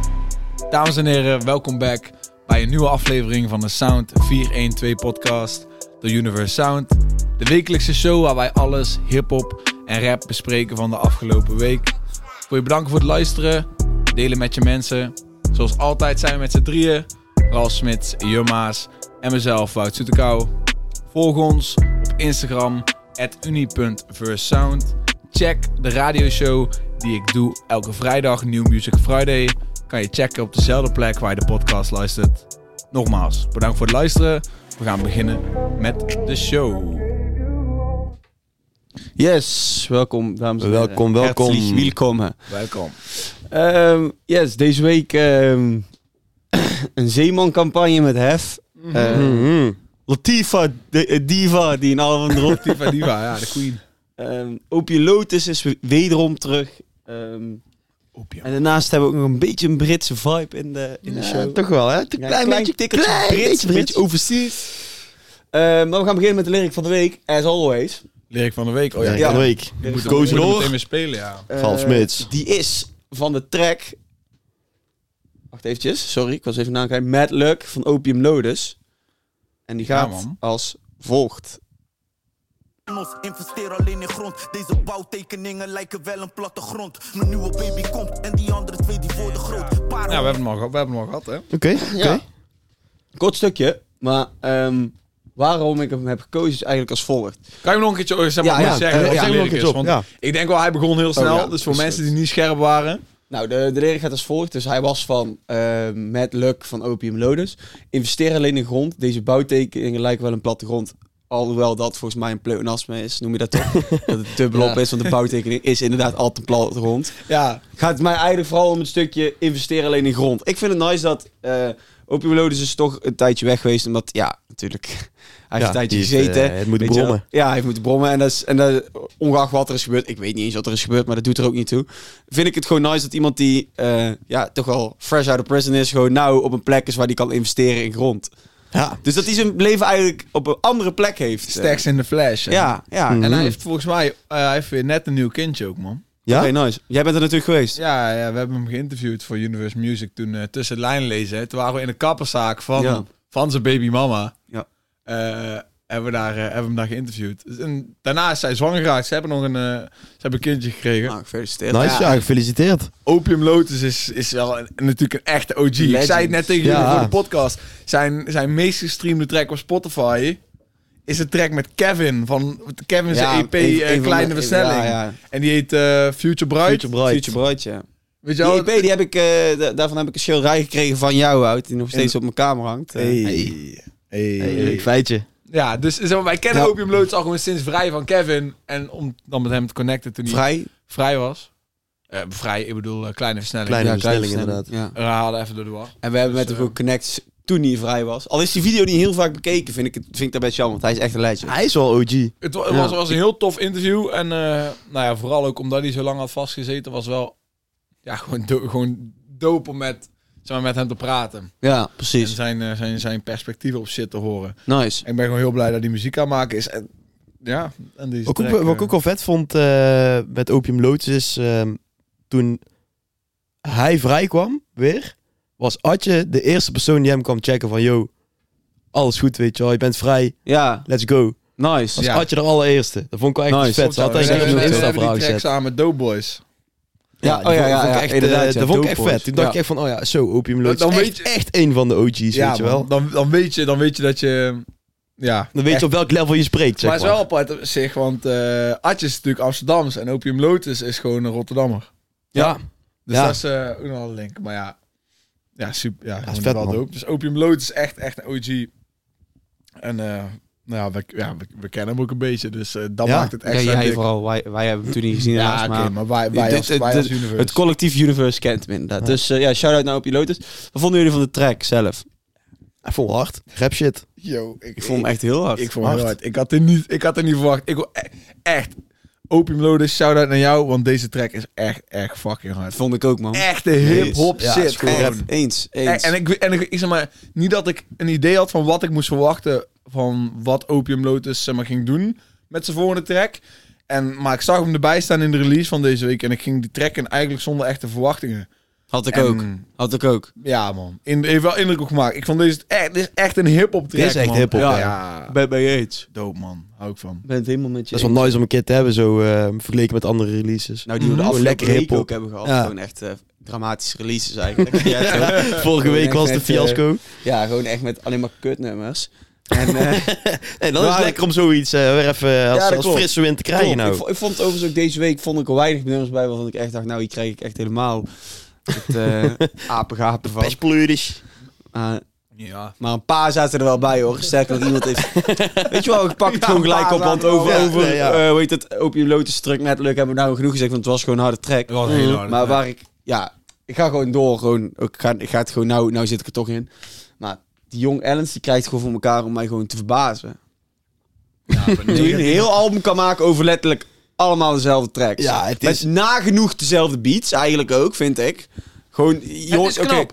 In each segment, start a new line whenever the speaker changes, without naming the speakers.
Alright, dames en heren, welkom back bij een nieuwe aflevering van de Sound 412 podcast, The Universe Sound. De wekelijkse show waar wij alles hip-hop en rap bespreken van de afgelopen week. Ik wil je bedanken voor het luisteren, delen met je mensen. Zoals altijd zijn we met z'n drieën, Ralf Smits, Jumma's en mezelf, Wout Soetekau. Volg ons op Instagram, uni.versound. Check de radioshow die ik doe elke vrijdag, New Music Friday. Kan je checken op dezelfde plek waar je de podcast luistert. Nogmaals, bedankt voor het luisteren. We gaan beginnen met de show.
Yes, welkom dames en heren.
Welkom, welkom.
Herzlich willkommen.
Welkom.
Ehm, yes, deze week ehm, een zeemancampagne met Hef.
Mhm.
Eh, Latifa, de- eh, Diva, die een album dropt.
Diva Diva, ja, de queen.
Ehm Opie Lotus is we- wederom terug. Ehm, en daarnaast hebben we ook nog een beetje een Britse vibe in de, in de show.
toch wel, hè? Een
Dus, eh, Ja,
klein,
een
beetje,
tikkeltje
klein
Brits,
beetje
een
Brits.
beetje overseas. Ehm, maar we gaan beginnen met de lyric van de week, as always.
Lyric van de week. Oh ja,
Ja,
ja.
Ja.
Van de week.
Je moet
Koos
moet er
Noor.
meteen mee spelen, ja.
Ralf
Eh,
Smits.
Die is van de track. Wacht eventjes, sorry, ik was even nakijken. Mad Luck van Opium Lotus. En die
Ja,
gaat
man.
als volgt.
Ons investeer alleen in grond. Deze bouwtekeningen lijken wel een plattegrond. Mijn nieuwe baby komt en die andere twee die worden groot. Paar
Ja, we hebben hem al, gehad- we hebben hem al gehad, hè.
Oké, oké.
Ja. Kort stukje, maar ehm, waarom ik hem heb gekozen is eigenlijk als volgt.
Kan je hem nog een keertje eh, zeg maar,
Ja, ja,
zeggen?
eh,
wat
ja,
de
ja,
lyric
nog eens
is?
op,
Want
ja.
Ik denk wel, hij begon heel snel.
Oh, ja,
dus voor
is
mensen
goed.
die niet scherp waren.
Nou, de, de reden gaat als volgt. Dus hij was van eh Mad Luck van Opium Lotus. Investeer alleen in grond. Deze bouwtekeningen lijken wel een plattegrond. Alhoewel dat volgens mij een pleonasme is, noem je dat toch? dat het te blop
Ja.
is, want de bouwtekening is inderdaad altijd een plattegrond.
Ja,
gaat het mij eigenlijk vooral om het stukje investeren alleen in grond. Ik vind het nice dat eh Opium Lotus is toch een tijdje weg geweest. Omdat, ja, natuurlijk. Hij heeft
Ja,
een tijdje
die heeft,
gezeten.
eh, het moet
Weet je
brommen.
wel. Ja, hij heeft moeten brommen. En, dat is, en dat, ongeacht wat er is gebeurd. Ik weet niet eens wat er is gebeurd, maar dat doet er ook niet toe. Vind ik het gewoon nice dat iemand die eh, ja, toch wel fresh out of prison is... gewoon nou op een plek is waar die kan investeren in grond.
Ja.
Dus dat hij zijn leven eigenlijk op een andere plek heeft.
Stacks in the Flash. hè.
eh, Ja, ja.
Mhm.
En hij heeft volgens mij eh, hij heeft weer net een nieuw kindje ook, man.
Ja?
Oké, nice. Jij bent er natuurlijk geweest.
Ja, ja, we hebben hem geïnterviewd voor Universe Music toen eh, tussen de lijn lezen. hè. Toen waren we in de kapperszaak van,
Ja.
van zijn baby mama.
Ja.
Eh, hebben, we daar, eh, hebben we hem daar geïnterviewd. Dus, en daarna is zij zwanger geraakt. Ze hebben nog een, eh, ze hebben een kindje gekregen.
Nou, gefeliciteerd.
Nice, ja, gefeliciteerd.
Opium Lotus is, is wel een- natuurlijk een echte OG. Ik
Legend.
zei het net tegen
Ja.
jullie voor de podcast. Zijn, zijn meest gestreamde track op Spotify is een track met Kevin. Van Kevin's
Ja,
EP
een-
eh,
een van
Kleine
de-
Versnelling.
ja, ja.
En die heet eh, Future Bright.
Future Bright, E ja.
Weet je
Die
wel?
EP, die heb ik, eh, da- daarvan heb ik een schilderij gekregen van jou, Hout, die nog steeds op mijn kamer hangt. Eh,
Hey. Hey.
Hey, leuk feitje.
Ja, dus zeg maar, wij kennen
Ja.
Opium Lotus al gewoon sinds vrij van Kevin. En om dan met hem te connecten toen hij vrij,
Vrij.
was. Eh, vrij, ik bedoel, eh, Kleine Versnelling.
Kleine
Ja,
Versnelling,
Stem,
inderdaad.
Ja.
We halen even door de war.
En we hebben met
Dus,
hem ook connects toen hij vrij was. Al is die video niet heel vaak bekeken, vind ik, het, vind ik dat best jammer, want hij is echt een lijstje.
Hij is wel OG.
Het wa-
Ja.
was, was een heel tof interview. En eh, nou ja, vooral ook omdat hij zo lang had vastgezeten, was wel ja, gewoon, do gewoon dope om met, zeg maar, met hem te praten.
Ja,
En
precies.
zijn, eh, zijn, zijn perspectieven op shit te horen.
Nice.
En ik ben gewoon heel blij dat hij muziek aan het maken is. En, ja, en die
Ook, wat ik ook al vet vond eh, met Opium Lotus is... ehm, toen hij vrij kwam, weer... was Adje de eerste persoon die hem kwam checken van... Yo, alles goed, weet je wel. Je bent vrij.
Ja,
Let's go.
nice.
Was
Ja.
Adje de allereerste. Dat vond ik wel echt
Nice.
vet. Dat had
eh,
Soms
hij echt op
wel.
zijn
Ze
Insta-verhaal gezet.
samen met Doughboys.
Ja,
die
oh ja,
vond-
ja,
vond ik
ja,
echt,
inderdaad,
eh,
ja,
dat vond ik echt
Dope
vet. Toen
Boys.
dacht ik echt van, oh ja, zo, Opium Lotus.
Dan
Dan
weet
weet
je-
echt een van de OG's, weet je
man,
wel.
Dan, dan, weet je, dan weet je dat je... Ja,
Dan weet
echt-
je op welk level je spreekt, zeg
maar
maar.
het is wel apart op zich, want eh Atje is natuurlijk Amsterdams en Opium Lotus is gewoon een Rotterdammer.
Ja,
Dus
Ja.
dat is eh, ook nog wel een link. Maar ja, ja super. Ja, gewoon
vet,
wel
man.
dope. Dus Opium Load is echt, echt een OG. En eh, nou ja, we, ja we, we kennen hem ook een beetje. Dus eh, dat
Ja.
maakt het
Ja,
extra
jij
dik.
vooral, wij, wij hebben hem toen niet gezien
Ja,
helaas,
oké,
maar...
maar wij, wij
Dit-
als,
dit-
wij
dit-
als universe.
Het collectief Universe kent hem inderdaad. Dus eh, ja, shout-out naar Opie Lotus. Wat vonden jullie van de track zelf?
hij vond het hard. Rap shit.
Yo, ik,
Ik vond hem echt heel hard.
Ik vond het heel hard. Ik had er niet, ik had er niet verwacht. Ik wil e- echt. Opium Lotus, shout-out naar jou, want deze track is echt, echt fucking hard.
vond ik ook, man.
Echte hip-hop
Ja,
shit.
is goed.
gewoon.
Echt, eens, eens.
En, en ik, en ik, ik zeg maar, niet dat ik een idee had van wat ik moest verwachten van wat Opium Lotus zeg maar, ging doen met zijn volgende track. En, maar ik zag hem erbij staan in de release van deze week en ik ging die track in eigenlijk zonder echte verwachtingen.
Had ik
En-
ook. Had ik ook.
Ja, man. In, heeft wel indruk op gemaakt. Ik vond deze echt, dit is echt een hip-hop track.
Dit is echt
man.
hip-hop,
Ja,
ja.
ja.
Ben bij Yates.
Dope, man. Hou ik van.
Ben het helemaal met je.
Dat is wel
eens.
nice om een keer te hebben, zo eh, vergeleken met andere releases.
Nou, die we de
Mhm.
afgelopen
Lekker
week
hiphop.
ook hebben gehad.
Ja.
Gewoon echt eh, dramatische releases eigenlijk. Ja, toch?
Vorige week
echt
was de
net,
fiasco.
ja, gewoon echt met alleen maar kutnummers. En, eh,
en dan is het
maar-
lekker om zoiets eh, weer even
Ja,
als,
dat
als
klopt.
frisse wind te krijgen
Klopt. Ik,
nou.
vo- ik vond het overigens ook deze week vond ik er weinig nummers bij waarvan ik echt dacht, nou hier krijg ik echt helemaal het eh apengapen van.
Pestpleuris.
Ah,
Ja.
maar een paar zaten er wel bij hoor. Sterker nog iemand heeft... Weet je wel, ik pak het
Ja,
gewoon
een
gelijk
paar
op, want
zaten er
over,
wel
bij.
over
Ja, ja,
eh, hoe heet het, Opium Lotus truck met Luck hebben we nou genoeg gezegd, want het was gewoon een harde track.
Dat was een hele harde
maar
track.
waar ik, ja, ik ga gewoon door, gewoon, ik ga, ik ga het gewoon, nou, nou zit ik er toch in. Maar die Jong Ellens, die krijgt gewoon voor elkaar om mij gewoon te verbazen.
ja maar
Toen je
negatief.
een heel album kan maken over letterlijk allemaal dezelfde tracks.
Ja, het is-
Met nagenoeg dezelfde beats eigenlijk ook, vind ik. Gewoon, jongens, oké.
knap.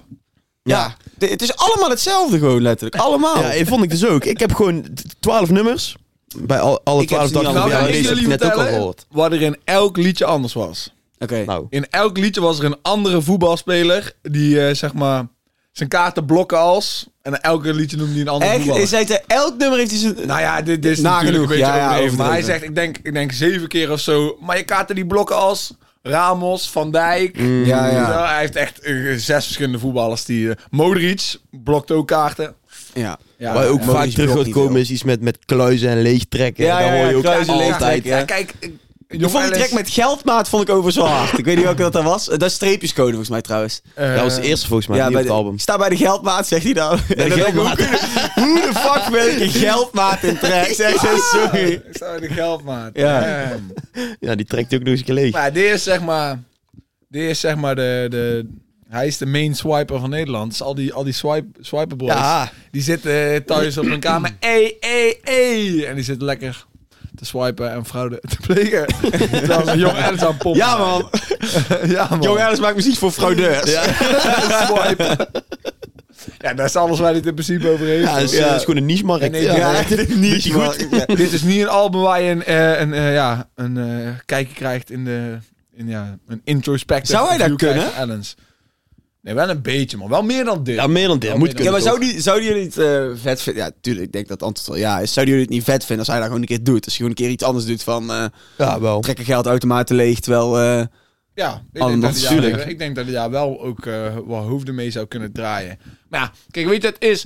Ja, de- het is allemaal hetzelfde gewoon letterlijk. Allemaal.
Ja, ik vond ik dus ook. Ik heb gewoon twaalf nummers. Bij al, alle
Ik heb
twaalf
ze niet
dacht
allemaal.
ik, van, ja,
Nou,
deze
ik
heb ik
jullie
net ook al
vertellen
gehoord.
Wat er in elk liedje anders was.
Oké.
Nou,
In elk liedje was er een andere voetbalspeler die eh, zeg maar zijn kaarten blokken als. En elke liedje noemde hij een andere
Echt,
voetballer.
is hij te- elk nummer heeft hij zijn...
Nou ja, dit, dit is
Nagenoeg,
natuurlijk een beetje
ja, ja,
overdreven. Maar hij
overdreven.
zegt, ik denk, ik denk zeven keer of zo. Maar je kaarten die blokken als Ramos, Van Dijk.
Mm. Ja, ja.
Weet je wel, Hij heeft echt eh, zes verschillende voetballers die... eh, Modric blokt ook kaarten.
Ja.
Ja,
waar ook
ja.
Modric
vaak terug
blokt
gaat
niet
komen
veel.
is iets met, met kluizen en leegtrekken.
Ja,
Daar
ja,
hoor je
ja,
ook
kluizen,
altijd.
leegtrekken.
Ja, kijk, eh,
Ik
Jong
vond die
Ellis,
track met geldmaat vond ik overigens wel hard. ik weet niet welke dat dan was. Eh, Dat is streepjescode volgens mij trouwens.
eh,
Dat was de eerste volgens mij, niet
bij
op het
de-
album.
ik Sta bij de geldmaat, zegt hij dan. En dan denk ik,
geldmaat.
hoe- Hoe de fuck wil ik een geldmaat in track? Zeg ze, sorry.
Ik sta in de geldmaat.
Ja.
Ehm.
Ja, die trekt hij ook nog eens een keer leeg.
Maar dit is zeg maar. Dit is zeg maar de. de hij is de main swiper van Nederland. Dus al die, al die swipe, swiper boys.
Ja,
Die zitten thuis op hun kamer. Ey, ey, ey. En die zitten lekker te swipen en fraude te plegen. Terwijl ze jong Alice aan pompen.
Ja man,
ja, man.
Jong Alice maakt muziek voor fraudeurs.
Swipen. Ja, daar is alles waar dit in principe over heeft.
ja, dat is,
Ja.
dat is gewoon een
En
niche-markt.
nee,
Ja.
ja,
Ja, dit is niet goed.
Dit is niet een album waar je een, eh, een, eh, ja, een eh, kijkje krijgt in de in, ja, een introspective.
Zou hij dat
view krijgt
kunnen?
van Allens. Nee, wel een beetje, maar wel meer dan dit.
Ja, meer dan dit.
Ja,
moet
meer dan
Ja,
kunnen,
maar
toch?
zouden jullie, zouden jullie het eh, vet vinden? Ja, tuurlijk, ik denk dat het antwoord wel ja is. Zouden jullie het niet vet vinden als hij dat gewoon een keer doet? Als hij gewoon een keer iets anders doet van eh
Ja, wel.
trekken geldautomaten leeg, terwijl... eh,
Ja, ik denk,
Allemaal
dat hij
natuurlijk.
daar, ik denk dat hij daar wel ook eh wel hoofden mee zou kunnen draaien. Maar ja, kijk, weet je, het is...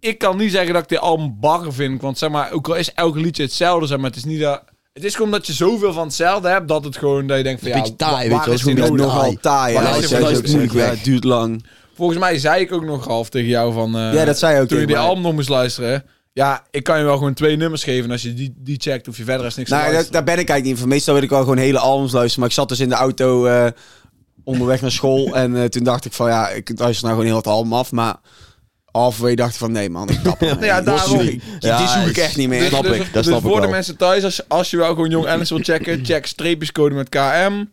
Ik kan niet zeggen dat ik dit album bagger vind. Want zeg maar, ook al is elk liedje hetzelfde, zeg maar, het is niet dat... Het is gewoon dat je zoveel van hetzelfde hebt, dat het gewoon, dat je denkt van,
Een
ja,
beetje taai,
waar
weet je wel,
is
is gewoon
die nou
een
nodig?
beetje
nogal
taai.
taai.
Maar
Ja,
dat
dat
is-
zei
dat
ze
is
ook moeilijk.
moeilijk
Ja, het duurt lang.
Volgens mij zei ik ook nog half tegen jou van... eh,
ja, dat zei hij ook
Toen je
tegen
die
mij.
album nog moest luisteren... Ja, ik kan je wel gewoon twee nummers geven. En als je die, die checkt, hoef je verder als niks te
Nou, daar,
luisteren.
daar ben ik eigenlijk niet van. Meestal wil ik wel gewoon hele albums luisteren. Maar ik zat dus in de auto eh, onderweg naar school. en eh, toen dacht ik van ja, ik luister nou gewoon heel het album af. Maar halverwege dacht ik van nee man, ik kap ermee.
Ja,
Dit zoek
daarom.
ik- Dit zoek ik echt niet meer.
snap
dus,
ik,
Dus,
dat snap ik
voor de
wel.
mensen thuis, als, als je wel gewoon Jong Alice wil checken... check streepjescode met KM.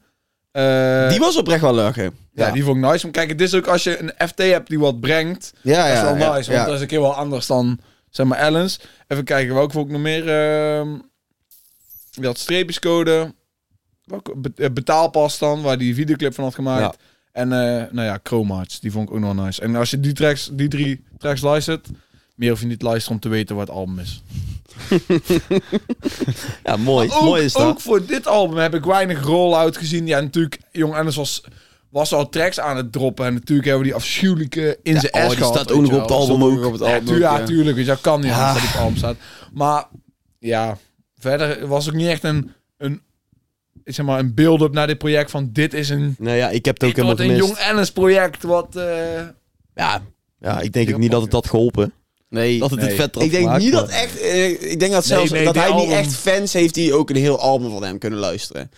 Eh,
Die was oprecht wel lachen.
ja, die vond ik nice. Maar kijk, het is ook als je een FT hebt die wat brengt...
ja,
dat is wel
ja,
nice.
ja.
Want eh, dat is een keer wel anders dan, zeg maar, Allens. Even kijken, welke vond ik nog meer... ehm die had streepjescode. Welke, be- eh, betaalpas dan, waar die videoclip van had gemaakt.
Ja.
En eh, nou ja, Chromarts, die vond ik ook nog nice. En als je die, tracks, die drie tracks luistert, meer hoef je niet te luisteren om te weten wat het album is.
Ja, mooi.
ook,
mooi is dat.
ook voor dit album heb ik weinig roll-out gezien. Ja, natuurlijk, Jong Anders was, was al tracks aan het droppen. En natuurlijk hebben we die afschuwelijke in
Ja,
zijn
oh,
ass
die
gehad,
staat
weet
ook
je
nog op
wel.
het album
Sommige
ook.
op het
Ja,
album
tu-
ook,
ja,
ja.
tuurlijk. weet je, dat kan niet
Ah.
anders dat die op het album staat. Maar ja, verder was ook niet echt een, een, ik zeg maar, een build-up naar dit project. Van dit is een
Nou ja, ik heb het ook
dit wordt
helemaal
een
gemist.
Jong Ennis project wat... eh,
Ja. ja, ik denk ook niet dat het dat geholpen.
Nee.
Dat het
Nee.
het vet had
Ik denk
gemaakt,
niet
maar-
dat echt. eh, ik denk dat zelfs
nee,
dat
die
hij niet
album-
echt fans heeft die ook een heel album van hem kunnen luisteren.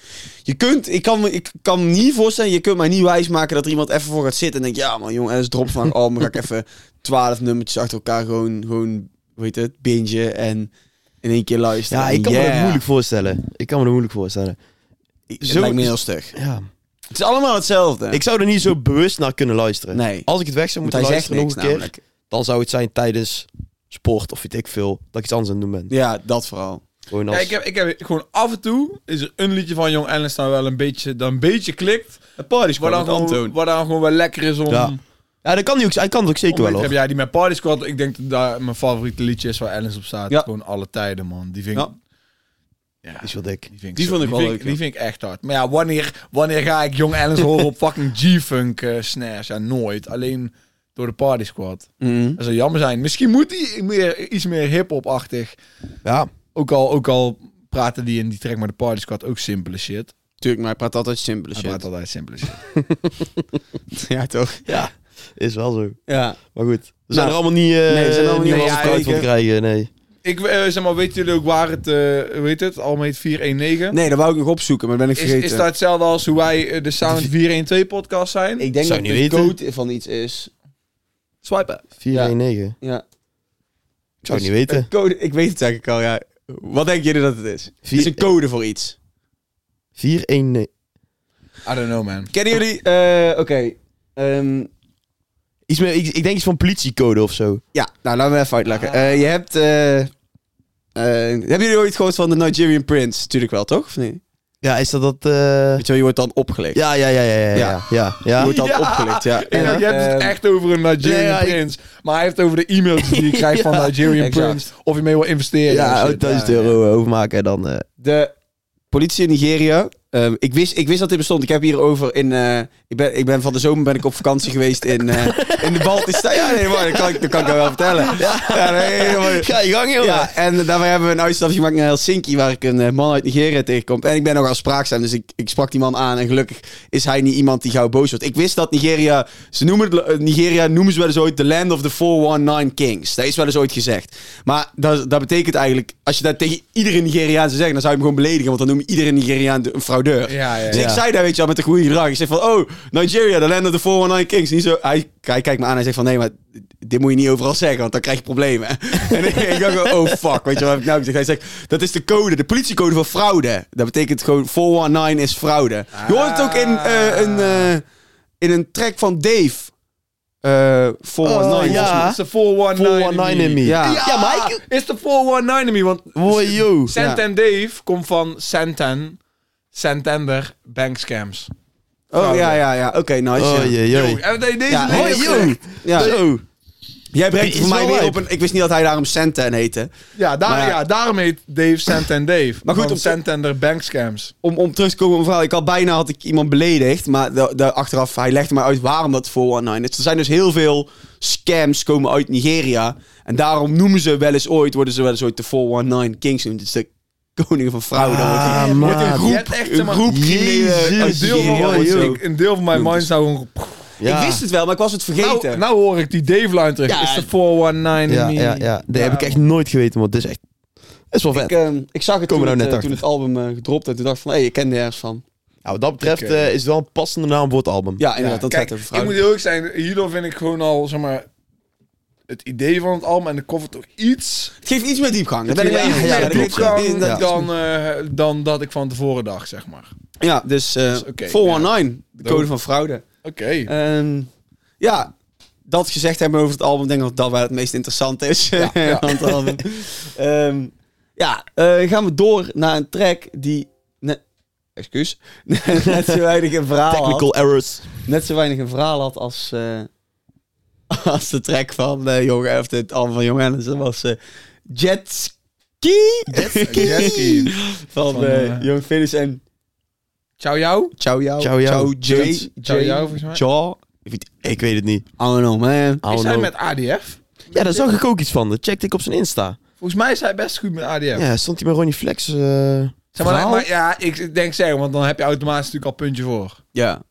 Je kunt, ik kan me, ik kan me niet voorstellen, je kunt mij niet wijsmaken dat er iemand even voor gaat zitten en denkt, ja man, jongen, dat is drop van een album, ga ik even twaalf nummertjes achter elkaar gewoon, gewoon, hoe heet het, bingen en in één keer luisteren.
Ja,
En
ik kan me
yeah.
dat moeilijk voorstellen. Ik kan me dat moeilijk voorstellen.
Het
Zo-
lijkt me heel stug.
Ja.
Het is allemaal hetzelfde.
Ik zou er niet zo bewust naar kunnen luisteren.
nee,
Als ik het weg zou
want
moeten
hij zegt
luisteren nog
niks
een keer,
namelijk.
dan zou het zijn tijdens sport of weet ik veel, dat ik iets anders aan het doen ben.
Ja, dat vooral.
Gewoon als...
Ja, ik, heb, ik heb gewoon af en toe is er een liedje van Jong Ellenstaan wel een beetje, dat een beetje klikt.
Het party
Waar
squad
dan,
met
gewoon,
Antoon.
waar dan gewoon wel lekker is om...
Ja, ik Ja, dat kan hij ook, hij kan het ook zeker wel,
Ik heb
hoor.
jij die met Party Squad. Ik denk dat daar mijn favoriete liedje is waar Alice op staat.
Ja.
Gewoon alle tijden, man. Die vind ik...
Ja.
Ja,
Die is wel dik.
die vind ik,
Die
zo-
vond ik wel
vind
leuk, ja.
Die vind ik echt hard. Maar ja, wanneer, wanneer ga ik Jong Alice horen op fucking G-Funk eh, snares? Ja, nooit. Alleen door de Party Squad.
Mhm.
Dat zou jammer zijn. Misschien moet die meer, iets meer hip-hop-achtig.
Ja.
Ook al, ook al praten die in die track met de Party Squad ook simpele shit.
Tuurlijk, maar hij praat altijd simpele
Hij
shit.
praat altijd simpele shit.
Ja, toch?
Ja, is wel zo.
Ja.
Maar goed. We
Nou,
zijn er allemaal niet... eh
nee, we zijn er allemaal
niet
niet
helemaal
aan
verkoud
het
van krijgen, nee.
Ik eh, zeg maar, weten jullie ook waar het, eh weet het, Alma heet 419?
Nee, dat wou ik nog opzoeken, maar dat ben ik
Is,
vergeten.
is dat hetzelfde als hoe wij eh, de Sound 412 podcast zijn?
Ik denk
Zou
dat
je
de
niet weten?
code van iets is.
Swipen.
419.
Ja.
Ik zou het niet weten.
Een code, ik weet het eigenlijk al, ja. Wat denken jullie dat het is? Het is een code voor iets.
419.
I don't know, man.
Kennen jullie... eh, Oké. Ehm,
Iets meer, ik, ik denk iets van politiecode of zo.
ja, nou, laten we even uitleggen. Eh, je hebt... eh, eh, hebben jullie ooit gehoord van de Nigerian Prince? Tuurlijk wel, toch? Of niet?
Ja, is dat dat... eh,
Weet je wel, je wordt dan opgelicht.
Ja, ja, ja, ja, ja, ja.
Ja.
ja,
Je
ja.
wordt dan
Ja.
opgelicht, ja.
Ik dacht, je hebt het
Ehm,
echt over een Nigerian
ja, ik-
Prince. Maar hij heeft het over de e-mails die je krijgt van Nigerian
exact.
Prince. Of je mee wil investeren.
Ja,
en
oh,
shit.
1000
Ja,
euro eh, overmaken en dan... eh,
De politie in Nigeria. ehm, ik, wist, ik wist dat dit bestond. Ik heb hierover in. eh, ik, ben, ik ben van de zomer ben ik op vakantie geweest in, eh, in de Baltische. Ja, nee, maar dat kan, ik- dat kan ik jou wel vertellen. Ja, nee, maar-
Ga je gang, joh.
ja, en daarbij hebben we een uitstapje gemaakt naar Helsinki, waar ik een eh, man uit Nigeria tegenkom. En ik ben nogal spraakzaam, dus ik, ik sprak die man aan. En gelukkig is hij niet iemand die gauw boos wordt. Ik wist dat Nigeria, ze noemen het, eh, Nigeria noemen ze wel eens ooit de land of the 419 kings. Dat is wel eens ooit gezegd. Maar dat, dat betekent eigenlijk, als je dat tegen iedere Nigeriaan zou zeggen, dan zou je hem gewoon beledigen, want dan noem je iedere Nigeriaan de- een fraudeur.
Ja, ja,
Dus
ja.
ik zei daar, weet je wel, met een goede gedrag. Ik zeg van, oh, Nigeria, de land of the 419 kings. Niet zo, hij, hij kijkt me aan en zegt van, nee, maar dit moet je niet overal zeggen, want dan krijg je problemen. en ik, ik dacht gewoon, oh fuck, weet je wat heb ik nou gezegd? Hij zegt, dat is de code, de politiecode voor fraude. Dat betekent gewoon, 419 is fraude. Je hoort het ook in,
Ah.
eh, een, eh, in een track van Dave. Eh 419.
Oh, ja.
It's the 419,
419 in me.
Ja.
ja maar ik...
It's the 419 in me. Want
Wow, yo.
Santan Dave komt van Santan. Santander Bank Scams.
Oh ja, ja, ja. Oké, nice.
Oh,
ja.
jee,
Yo,
jee.
en de- deze
Ja,
dingen-
hey,
Oh, yo.
Ja.
Zo.
Jij brengt
Is
het voor mij
wel
weer
lijp.
op een... Ik wist niet dat hij daarom Santan heette.
Ja, daar,
Maar-
ja, daarom heet Dave Santan Dave.
Maar goed,
van
om-
Santander Bank Scams.
om, om terug te komen op mijn verhaal. Ik had bijna had ik iemand beledigd. Maar da- da- achteraf, hij legde mij uit waarom dat 419 is. Er zijn dus heel veel scams komen uit Nigeria. En daarom noemen ze wel eens ooit, worden ze wel eens ooit de 419 Kings genoemd. Het is de koning van fraude.
Ah,
wordt die- wordt
maat.
een
Je
groep,
hebt echt, zeg
een
maar,
groep criminelen
Jezus,
uit
Een deel van,
Nigeria en
mijn-
zo.
ik- een deel van mijn mind zou gewoon...
Ja.
Ik wist het wel, maar ik was het vergeten.
Nou, nou hoor ik die Dave line terug.
Ja.
Is de 419
Ja,
in me?
ja, ja. Dat heb ik
Ja,
echt nooit geweten, want dit is echt... Het is wel nou, vet.
ik, ehm, ik zag het, toen,
Komen we nou
het,
net
eh,
achter.
toen het album eh, gedropt en toen dacht ik van, hé, ik ken er ergens van.
Nou, wat dat betreft
Oké.
eh, is het wel een passende naam voor het album.
Ja, inderdaad, dat
Kijk,
gaat over
ik
fraude.
moet heel eerlijk zijn. Hierdoor vind ik gewoon al, zeg maar... Het idee van het album en de cover toch iets...
Het geeft iets meer diepgang. Dat ben ik
Ja,
wel eens
iets
ja,
meer
dat klopt,
diepgang
ja. Ja.
Dan, eh, dan dat ik van tevoren dacht, zeg maar.
Ja, dus eh
Dus, oké,
419, de
Dope.
code van fraude.
Oké.
Ehm, ja, dat gezegd hebben over het album, denk ik dat dat wel het meest interessant is. Ja,
ja.
van het album. Ehm, ja eh, gaan we door naar een track die... ne- excuus. net zo weinig een verhaal
Technical errors.
had. Net zo weinig een verhaal had als... eh, als de track van eh Jong, of het album van Jong Hennis, dat was eh, Jet Ski.
Jet Ski.
Van,
Van,
eh,
eh,
Jong Felix en
Ciao jou.
Ciao Jou.
Ciao Jou.
Ciao J.
Ciao
J-
jou, volgens mij.
Ciao.
Ik weet het niet.
I don't know, man.
I
Is
don't
hij
know.
met ADF?
Ja, daar zag ik ook iets van. Dat checkte ik op zijn Insta.
Volgens mij is hij best goed met ADF.
Ja, stond hij met Ronnie Flex. eh,
Zeg maar,
verhaal?
maar ja, ik denk zeggen, want dan heb je automatisch natuurlijk al puntje voor.
Ja.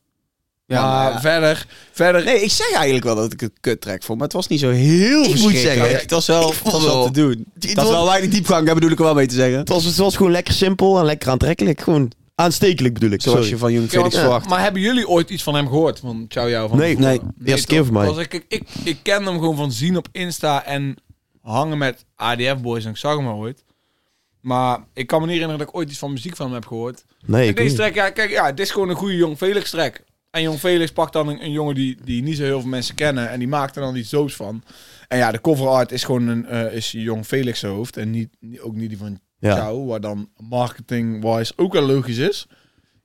Ja,
maar ja.
verder, verder.
Nee, ik zeg eigenlijk wel dat ik het kut track vond, maar het was niet zo heel
moet
verschrikkelijk.
zeggen,
het was wel,
ik
het
vond
was wel
wel-
te doen.
het
Het was
was-
wel weinig diepgang, daar bedoel ik er wel mee te zeggen.
Het was, het was gewoon lekker simpel en lekker aantrekkelijk. Gewoon aanstekelijk bedoel ik.
Zoals
sorry.
je van Jong
Ja, want-
Felix verwacht.
maar hebben jullie ooit iets van hem gehoord? Van Ciao Jou? Van
Nee.
tevoren?
Nee,
eerste keer
toch?
voor mij.
Was ik, ik, ik, ik ken hem gewoon van zien op Insta en hangen met ADF boys en ik zag hem al ooit. Maar ik kan me niet herinneren dat ik ooit iets van muziek van hem heb gehoord.
Nee,
en
ik
deze
weet
track,
niet.
ja, kijk, ja, dit is gewoon een goede Jong Felix track. En Jong Felix pakt dan een, een jongen die, die niet zo heel veel mensen kennen en die maakt er dan iets zoos van. En ja, de cover art is gewoon een, eh, is Jong Felix hoofd en niet, niet- ook niet die van
Ja.
jou, waar dan marketing-wise ook wel logisch is.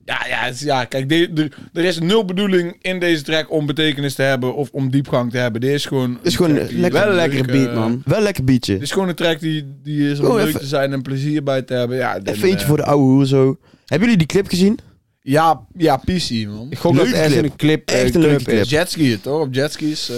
Ja, ja, het is- ja kijk, de- de- er is nul bedoeling in deze track om betekenis te hebben of om diepgang te hebben. Dit is gewoon...
is gewoon
track die-
lekker-
Wel een lekkere
leuke-
beat, man.
Wel lekker beatje.
Dit is gewoon een track die, die is om
Gewoon
leuk
Oh, even-
te zijn en plezier bij te hebben. Ja, dan,
Even eentje
eh,
voor de ouwe hoer zo. Hebben jullie die clip gezien?
Ja, ja, PC, man.
Ik gok
Leuke
dat het echt
clip.
een clip, eh,
Echt een leuke
is.
clip.
Jetskiën, toch? Op jetskis. eh.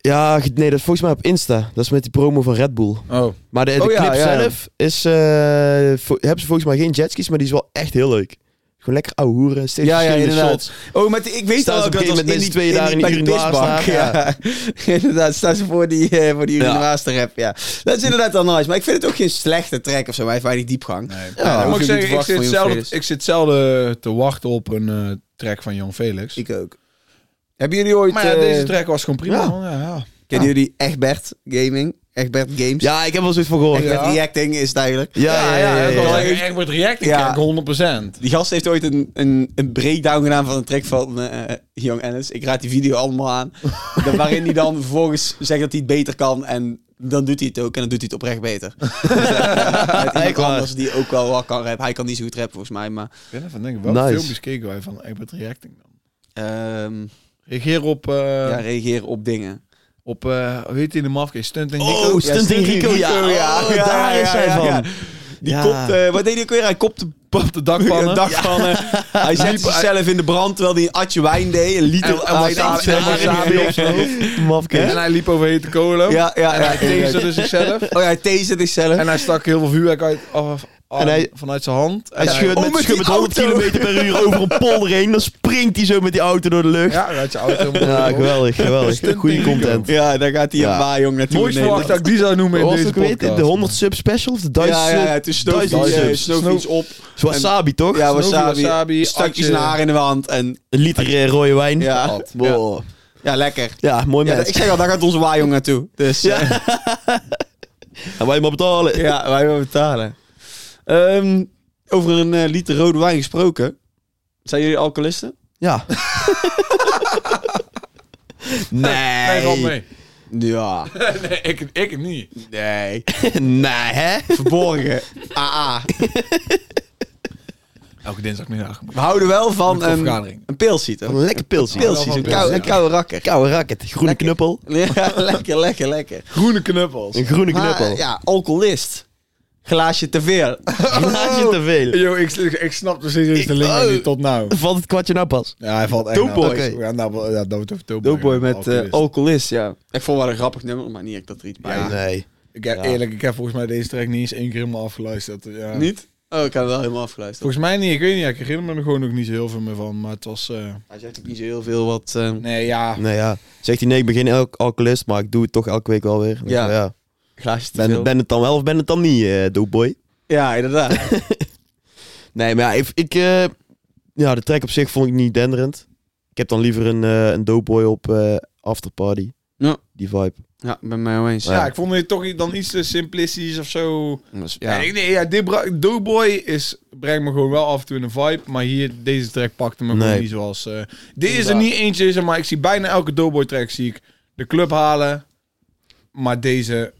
Ja, ge- nee, dat is volgens mij op Insta. Dat is met die promo van Red Bull.
Oh,
Maar de, de
Oh, ja,
clip
ja.
zelf is... eh, vo- hebben ze volgens mij geen jetskis, maar die is wel echt heel leuk. Gewoon lekker ouwe hoeren, steeds
Ja, ja,
verschillende
inderdaad.
shots.
Oh, maar die- ik weet
Staan
al
ze
ook
op
dat
een
was
gegeven moment met z'n tweeën daar in
bij
de
die
urinoir
pisbank,
staan,
Ja. inderdaad, staan ze voor die, eh, voor die
Ja.
urinoirs te rappen, ja. Dat is inderdaad wel nice. Maar ik vind het ook geen slechte track of zo. Hij heeft weinig diepgang.
nee.
Ja,
Ja,
hoef
moet ik
je niet te
zeggen, ik
wachten
zit,
van Jon
zelden,
Felix.
ik zit zelden te wachten op een eh, track van Jon Felix.
Ik ook. Hebben jullie ooit...
maar ja,
eh,
deze Ah. track was gewoon prima,
ja.
man. Ja, ja.
Kennen jullie Egbert Gaming? Egbert Games?
Ja, ik heb wel zoiets van gehoord.
Egbert
ja.
Reacting is het eigenlijk.
Ja, ja, ja. ja, ja, ja.
Echt wordt reacting
Ja.
track, 100%.
Die gast heeft ooit een, een, een breakdown gedaan van een track van eh Young Ennis. Ik raad die video allemaal aan. Dan- waarin hij dan vervolgens zegt dat hij het beter kan. En dan doet hij het ook. En dan doet hij het oprecht beter. Dus, eh, Met
Echt
iemand
waar.
anders die ook wel wat kan rappen. Hij kan niet zo goed rappen volgens mij. Maar
Ik ben even denken, welke
Nice.
filmpjes keken wij van Egbert Reacting dan?
ehm,
Reageer op, eh
ja, reageren op dingen.
op eh, hoe heet die in de mafke? Stunt en Rico.
Oh, Stunting Rico, ja. Oh, daar is hij van.
Die
Ja.
kopt, eh, wat deed hij ook weer? Hij kopte
Op de dakpannen.
dakpannen. eh, Hij zet zichzelf in de brand terwijl hij een atje wijn deed. Een liter
En- en
wijn
wasabi-
aan-
en wasabi op zijn hoofd.
Mafkees.
En hij liep over hete kolen.
Ja, ja,
en
ja,
hij
inderdaad.
taserde zichzelf.
Oh ja, hij taserde zichzelf.
En hij stak heel veel vuurwerk uit, af, af-
En hij-
vanuit zijn hand. En
Hij
hij-
schudt
Oh,
met,
met
schudt
die
met 100
auto.
km per uur over een polder heen. Dan springt hij zo met die auto door de lucht. Ja,
Ja, uit je auto.
geweldig, geweldig.
Stunting
Goede
Rico.
content.
Ja, daar gaat hij
Ja.
een waar, jong naartoe.
Mooist
in
verwacht dat
Nederland.
ik die zou noemen in
Wat was
deze
het ook weer?
podcast.
De 100 sub special of de Duitse
Ja, ja, ja, het is snoof
Duitse
iets, eh,
subs.
snoof
Snoof-
iets op.
Wasabi, toch?
Ja,
Snoof-
wasabi.
wasabi,
stukjes
atje.
naar in de wand. En
Een liter eh, rode wijn.
ja, ja.
Wow.
Ja, lekker.
ja mooi
Ja,
mens.
ik zeg al, daar gaat onze waaijong naartoe. Dus ja,
En wij maar betalen.
ja wij willen betalen. Ehm, over een eh, liter rode wijn gesproken. Zijn jullie alcoholisten?
Ja.
Nee, Rob,
nee.
nee.
Ja.
nee ik, ik niet.
Nee.
Nee, hè?
Verborgen. AA.
Elke dinsdagmiddag.
We houden wel van
Een
ehm,
een,
vergadering.
een pilsie, toch?
Een lekker pilsje.
Pils.
Pilsie, een
Pilsie,
koude,
ja.
een koude rakker.
Koude racket. Groene
Lekker.
knuppel.
Ja, lekker, lekker, lekker.
Groene knuppels.
Een groene
Maar,
knuppel.
ja, alcoholist. Glaasje te veel.
Glaasje te veel.
Yo, ik, ik snap de serieus de
Ik-
link
oh.
niet tot nou.
Valt het kwartje nou pas?
Ja, hij valt echt
Doughboy.
nou- Ja, nou, ja, dood over Doughboy.
Doughboy met
Alcoholist.
oh.
eh alcoholist, ja. Ik vond wel een grappig nummer, maar niet echt dat er iets bij
Ja.
is.
Nee.
ik heb,
ja.
Eerlijk, ik heb volgens mij deze track niet eens één keer helemaal afgeluisterd. Ja.
Niet? Oh, ik heb wel helemaal afgeluisterd.
Volgens mij niet, ik weet niet. ja, Ik herinner me er gewoon ook niet zo heel veel meer van. Maar het was... eh,
Hij zegt ook niet zo heel veel wat... eh,
nee, ja.
Nee, ja. Zegt hij, nee, ik ben geen al- alcoholist, maar ik doe het toch elke week wel weer.
Ja.
Ja. ja.
Glaasje te veel.
Ben, ben het dan wel of ben het dan niet, eh doopboy?
Ja, inderdaad.
Nee, maar ja, ik... ik eh, ja, de track op zich vond ik niet denderend. Ik heb dan liever een, eh een doopboy op eh afterparty.
Ja.
Die vibe.
ja, ben mij wel eens.
Dus Ja, ik vond het toch dan iets te simplistisch of zo.
Dus, ja.
Ja. ik- nee, ja, dit bra- Doughboy is, brengt me gewoon wel af en toe in een vibe. Maar hier, deze track pakte me gewoon
Nee.
niet zoals... eh dit is er
Inderdaad.
niet eentje, zeg maar ik zie bijna elke Doughboy track zie ik de club halen. Maar deze...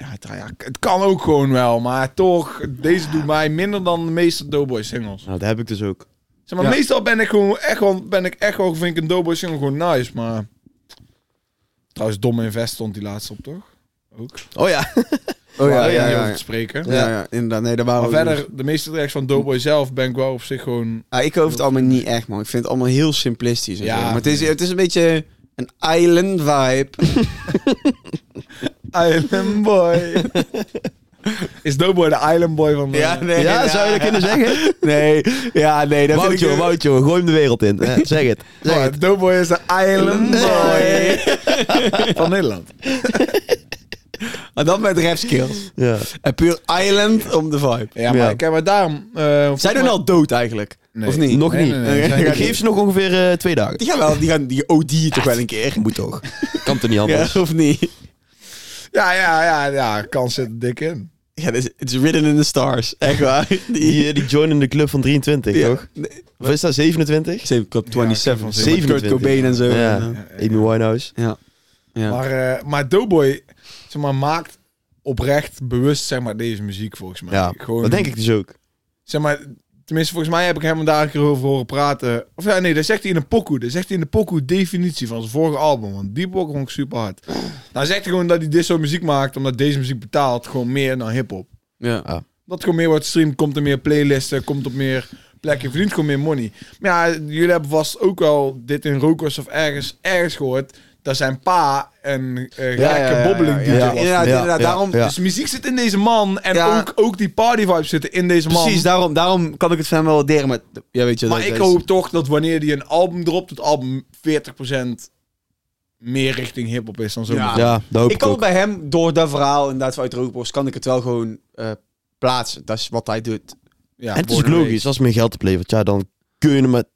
Ja, het, ja, het kan ook gewoon wel, maar toch, deze doet mij minder dan de meeste Doughboy singles.
Nou, dat heb ik dus ook.
Zeg maar,
Ja.
meestal ben ik gewoon echt wel, ben ik echt wel, vind ik een Doughboy single gewoon nice, maar... Trouwens, Dom Invest stond die laatste op, toch? Ook.
Oh ja.
Oh ja,
Daar
ja,
niet
ja.
over
ja.
te spreken.
Ja, ja, inderdaad. Nee, daar waren
Maar
we ook
verder, de meeste tracks van Doughboy zelf ben ik wel op zich gewoon...
Ah, ik hoef het allemaal niet echt, man. Ik vind het allemaal heel simplistisch. en
Ja,
zo. maar het is, het is een beetje een island vibe.
Island Boy. Is Doughboy de Island Boy van... eh, de-
nee.
ja, zou je dat kunnen zeggen?
Nee, ja, nee. Dat
Wout,
vind ik...
joh, Wout, joh. Gooi hem de wereld in. Eh, zeg het. Zeg
Maar
het.
Doughboy is de Island Boy van Nederland.
Maar dan met rap skills.
Ja.
En puur island om de vibe.
Ja, maar,
Ja.
Kijk, maar daarom... eh,
Zij doen al dood eigenlijk.
Nee.
Of niet?
Nog
Nee,
niet.
nee, nee,
Oké.
zij-
Ik geef ze nog ongeveer eh, twee dagen.
Die gaan wel, die gaan die OD toch wel een keer.
Moet toch. Kan toch niet
Ja,
anders.
of niet?
Ja, ja, ja, ja. Kans zit er dik in.
Ja, dus it's written in the stars. Echt waar. Die,
Die, eh, die joinen de club van 23,
ja.
toch? Of is dat 27?
Same Club 27.
Ja,
met
27.
Kurt Cobain en zo.
Ja.
Ja.
Amy Winehouse.
ja.
Maar, eh maar Doughboy, zeg maar, maakt oprecht bewust, zeg maar, deze muziek volgens mij.
Ja,
Gewoon,
dat denk ik dus ook.
Zeg maar, tenminste, volgens mij heb ik hem daar een keer over horen praten. Of ja, nee, dat zegt hij in een pokoe. Dat zegt hij in de pokoe definitie van zijn vorige album. Want die pokoe vond ik super hard. Nou zegt hij gewoon dat hij dit soort muziek maakt, omdat deze muziek betaalt gewoon meer dan hip-hop.
Ja.
Dat gewoon meer wordt streamt, komt er meer playlists, komt op meer plekken, verdient gewoon meer money. Maar ja, jullie hebben vast ook wel dit in Rokers of ergens, ergens gehoord. Dat zijn pa en eh
Ja,
gekke
ja, ja,
bobbeling
ja,
DJ
ja.
was.
Inderdaad,
Ja,
inderdaad,
ja,
daarom...
ja.
Dus muziek zit in deze man en
Ja.
ook, ook die party vibes zitten in deze man.
Precies, daarom, daarom kan ik het van hem wel waarderen. Maar, ja, weet je,
Maar
dat-
ik
dat is-
hoop toch dat wanneer hij een album dropt, het album 40% meer richting hip-hop is dan zo.
Ja.
Ja, dat hoop
Ah. Ik
ik,
kan
ook.
het bij hem, door dat verhaal inderdaad vanuit Rookbos, kan ik het wel gewoon eh, plaatsen. Dat is wat hij doet.
Ja,
en het is ook
worden we-
logisch, als het meer geld oplevert, ja, dan kun je hem het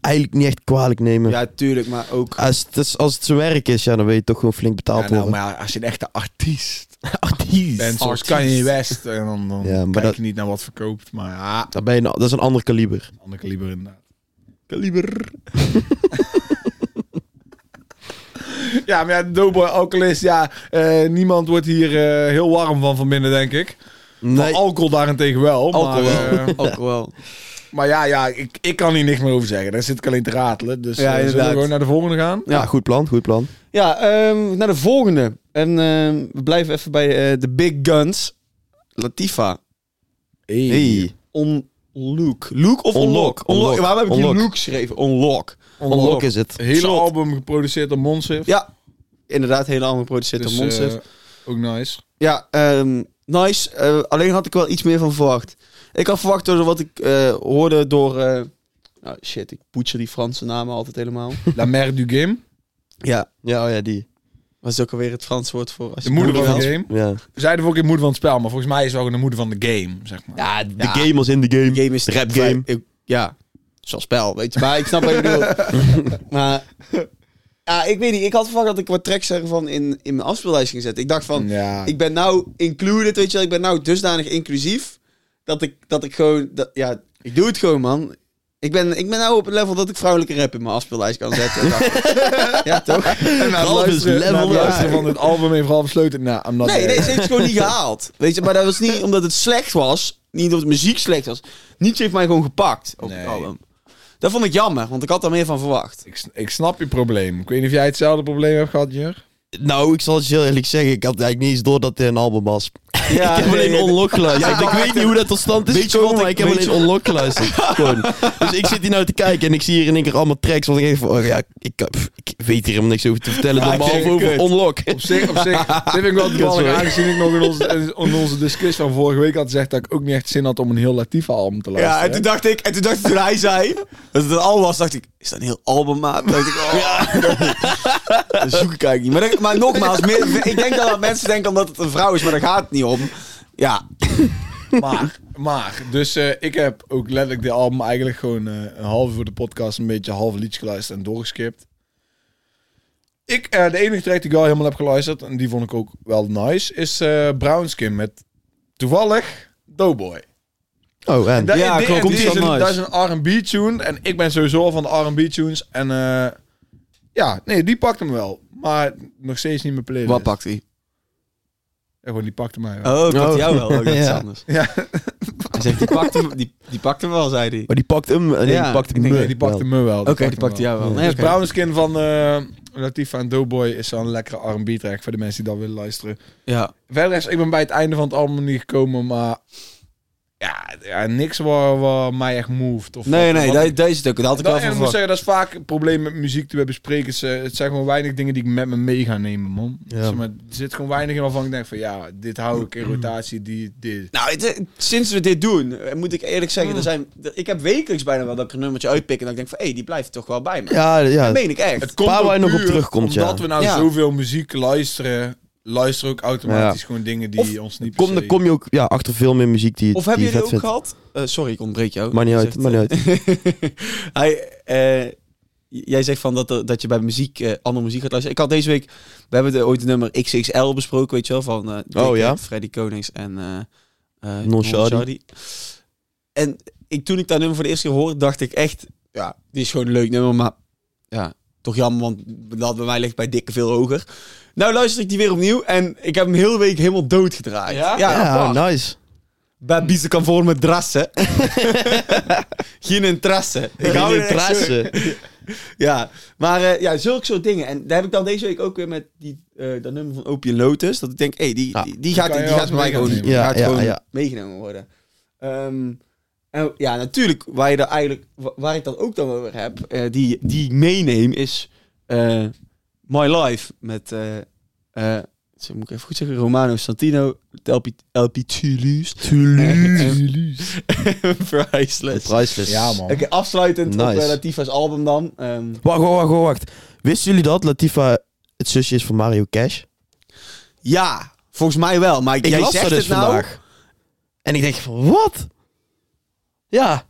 eigenlijk niet echt kwalijk nemen.
Ja, tuurlijk, maar ook...
Als, het, is- als het zijn werk is, ja, dan wil je toch gewoon flink
Ja,
betaald
nou,
worden.
maar als je een echte artiest
Artiest.
bent, zoals
Artiest.
Kanye West, en dan, dan
Ja, maar
kijk
dat-
je niet naar wat verkoopt. Maar ja,
Dat, ben je een- dat is een ander kaliber.
een ander kaliber inderdaad.
Kaliber.
Ja, maar ja, Doughboy Alcoholist, ja, eh, niemand wordt hier eh, heel warm van van binnen, denk ik. Van
Nee.
alcohol daarentegen wel.
Alcohol
Maar,
wel.
eh,
Alcohol wel.
maar ja, ja ik, ik kan hier niks meer over zeggen. Daar zit ik alleen te ratelen. Dus
Ja,
eh, zullen
inderdaad.
we gewoon naar de volgende gaan?
Ja, goed plan, goed plan.
Ja, ehm, naar de volgende. En ehm, we blijven even bij eh, de big guns. Latifa.
Hey.
Unlock. Luke of
Unlock,
Unlock?
Unlock.
Waarom heb ik
Unlock.
die Luke geschreven? Unlock.
Unlock is het.
Hele
Slot.
album geproduceerd door Monsif.
Ja, inderdaad, helemaal geproduceerd door
Dus,
Monsif.
eh, ook nice.
Ja, ehm, nice. Eh, alleen had ik wel iets meer van verwacht. Ik had verwacht door wat ik eh, hoorde door... eh, nou, shit, ik poetser die Franse namen altijd helemaal.
La mère du game.
ja,
Ja, oh ja, die.
wat is ook alweer het Frans woord voor... Als
De
je
moeder
moeder
van de
wel-
game.
Ja.
We zeiden ook de moeder van het spel, maar volgens mij is ze ook de moeder van de game, zeg maar.
Ja, de
Ja.
gamers in de game.
De game is...
De rap game.
Ik- ja, zo'n spel, weet je. Maar ik snap wat je bedoelt. maar... Ja, ik weet niet. Ik had verwacht dat ik wat tracks ervan in, in mijn afspeellijst ging zetten. Ik dacht van...
Ja.
Ik ben nou included, weet je wel. Ik ben nou dusdanig inclusief. Dat ik, dat ik gewoon... Dat, ja, ik doe het gewoon, man. Ik ben, ik ben nou op het level dat ik vrouwelijke rap in mijn afspeellijst kan zetten. ja, toch?
en dus- na het
Ralf is
luisteren, na
level
het
up.
luisteren van het album heeft Ralf Sleutel... Nou, I'm not
Nee,
there.
nee, ze heeft het gewoon niet gehaald. Weet je, maar dat was niet omdat het slecht was. Niet omdat het muziek slecht was. Niets heeft mij gewoon gepakt op
Nee.
het album. Dat vond ik jammer, want ik had daar meer van verwacht.
Ik, s- ik snap je probleem. Ik weet niet of jij hetzelfde probleem hebt gehad, Jur.
Nou, ik zal het je heel eerlijk zeggen. Ik had eigenlijk niet eens door dat dit een album was. Ah,
Ja,
ik heb alleen
nee,
Unlock geluisterd. ik, ik weet niet hoe dat tot stand is
Weet je
gekomen,
wat
maar ik
ik-
heb
weet
alleen Unlock geluisterd. Gewoon. Dus ik zit hier nou te kijken en ik zie hier in één keer allemaal tracks. Want ik denk van, oh ja, ik, pff, ik weet hier helemaal niks over te
Ja,
vertellen. dan
ik
behalve
vind het
over
kut.
Unlock.
Op zich, op zich. Dit vind ik wel
Kut,
toevallig
sorry.
aangezien ik nog in onze, in onze discussie van vorige week had gezegd dat ik ook niet echt zin had om een heel Latifa album te luisteren.
Ja, en toen dacht ik, en toen dacht ik, toen hij zei dat het een album was, dacht ik, is dat een heel album, maar Toen dacht ik, oh, dat zoek ik eigenlijk niet. Maar, dat- maar nogmaals, meer- ik denk dat, dat mensen denken omdat het een vrouw is, maar daar gaat het niet om. Ja,
Maar, maar, dus eh, ik heb ook letterlijk de album eigenlijk gewoon eh, een half voor de podcast een beetje half liedjes geluisterd en doorgeskipt. Ik, eh, de enige track die ik wel helemaal heb geluisterd, en die vond ik ook wel nice, is eh Brownskin met toevallig Doughboy.
Oh, en?
Dat-
Ja,
dit-
klopt,
dit
die is
is
wel
een,
nice.
dat is een R&B tune en ik ben sowieso al van de R&B tunes en eh, ja, nee, die pakt hem wel. Maar nog steeds niet mijn playlist.
wat pakt hij?
Ja, gewoon, die pakte mij wel.
Oh, ik
Oh.
had jou wel. Oh, dat is
Ja.
anders.
Ja.
Hij zegt, die pakt hem, die, die pakt hem wel, zei hij.
Maar die pakt hem. Nee,
Ja,
die pakt
ik
hem.
denk
Nee, die pakte me wel.
Oké, die pakt
hem
jou wel.
Ja.
Nee,
Dus
oké.
Brown Skin van eh Latifa en Doughboy is zo'n lekkere R&B track voor de mensen die dat willen luisteren.
Ja.
Verder is, ik ben bij het einde van het album niet gekomen, maar ja, ja niks waar, waar mij echt moved. Of
Nee,
wat-
nee,
wat
dat,
ik-
dat is het ook. Dat had ik
dat,
wel
en
van
ik moet
verwacht.
zeggen, dat is vaak het probleem met muziek die we bespreken. Is, eh, het zijn gewoon weinig dingen die ik met me mee ga nemen, man.
Ja.
Zeg maar, er zit gewoon weinig in waarvan ik denk van ja, dit hou ik in rotatie, die, dit.
Nou, het- sinds we dit doen, eh, moet ik eerlijk zeggen, er
Ah.
zijn, er- ik heb wekelijks bijna wel dat ik een nummertje uitpik en dat ik denk van, hé, die blijft toch wel bij me.
Ja, ja.
Dat meen ik echt.
Het
Waar
ook
wij nog op
puur
terugkomt, ja.
Omdat we nou
Ja.
zoveel muziek luisteren, luisteren ook automatisch gewoon dingen die
Of
ons niet per
Kom,
se-
dan kom je ook ja, achter veel meer muziek die,
Of
die
hebben
je vet
jullie ook
vindt.
gehad? Eh, sorry, ik ontbreek jou.
Maar niet
Je
uit,
zegt,
maar niet uit.
Hij, eh, jij zegt van dat, er- dat je bij muziek eh, andere muziek gaat luisteren. Ik had deze week, we hebben de, ooit de nummer XXL besproken, weet je wel, van eh, Dick
Oh, ja?
Red, Freddy Konings en eh eh,
Non Shardy.
Shardy. En ik, toen ik dat nummer voor de eerste keer hoorde, dacht ik echt, ja, die is gewoon een leuk nummer, maar ja, Toch jammer, want dat bij mij ligt bij dikke veel hoger. Nou luister ik die weer opnieuw en ik heb hem heel de week helemaal doodgedraaid.
Ja?
Ja,
Ja,
apart.
oh, nice.
Bij biezen kan voor me drassen. Geen interesse. Ik
Geen
hou er echt zo-
interesse.
Ja, maar eh, ja, zulke soort dingen. En daar heb ik dan deze week ook weer met die, eh, dat nummer van Opie en Lotus. Dat ik denk, hé, hey, die,
Ja.
die, die gaat,
Kan
die
je wel
gaat bij mij gewoon,
meenemen.
die
Ja,
gaat
ja,
gewoon
ja.
meegenomen worden. Ehm, en ja, natuurlijk, waar, je daar eigenlijk, wa- waar ik dat ook dan over heb, eh, die, die ik meeneem, is eh, My Life met... eh, eh, zo moet ik even goed zeggen, Romano Santino, LP, LP Toulouse. Priceless.
Priceless.
Ja, man.
Oké, afsluitend op
Nice.
eh, Latifa's album dan. Ehm,
Wacht, wacht, wacht, wacht. Wisten jullie dat Latifa het zusje is van Mario Cash?
Ja, volgens mij wel. Maar
Ik
jij
las
zegt
dat dus
het nou.
vandaag. En ik denk van, wat? Ja.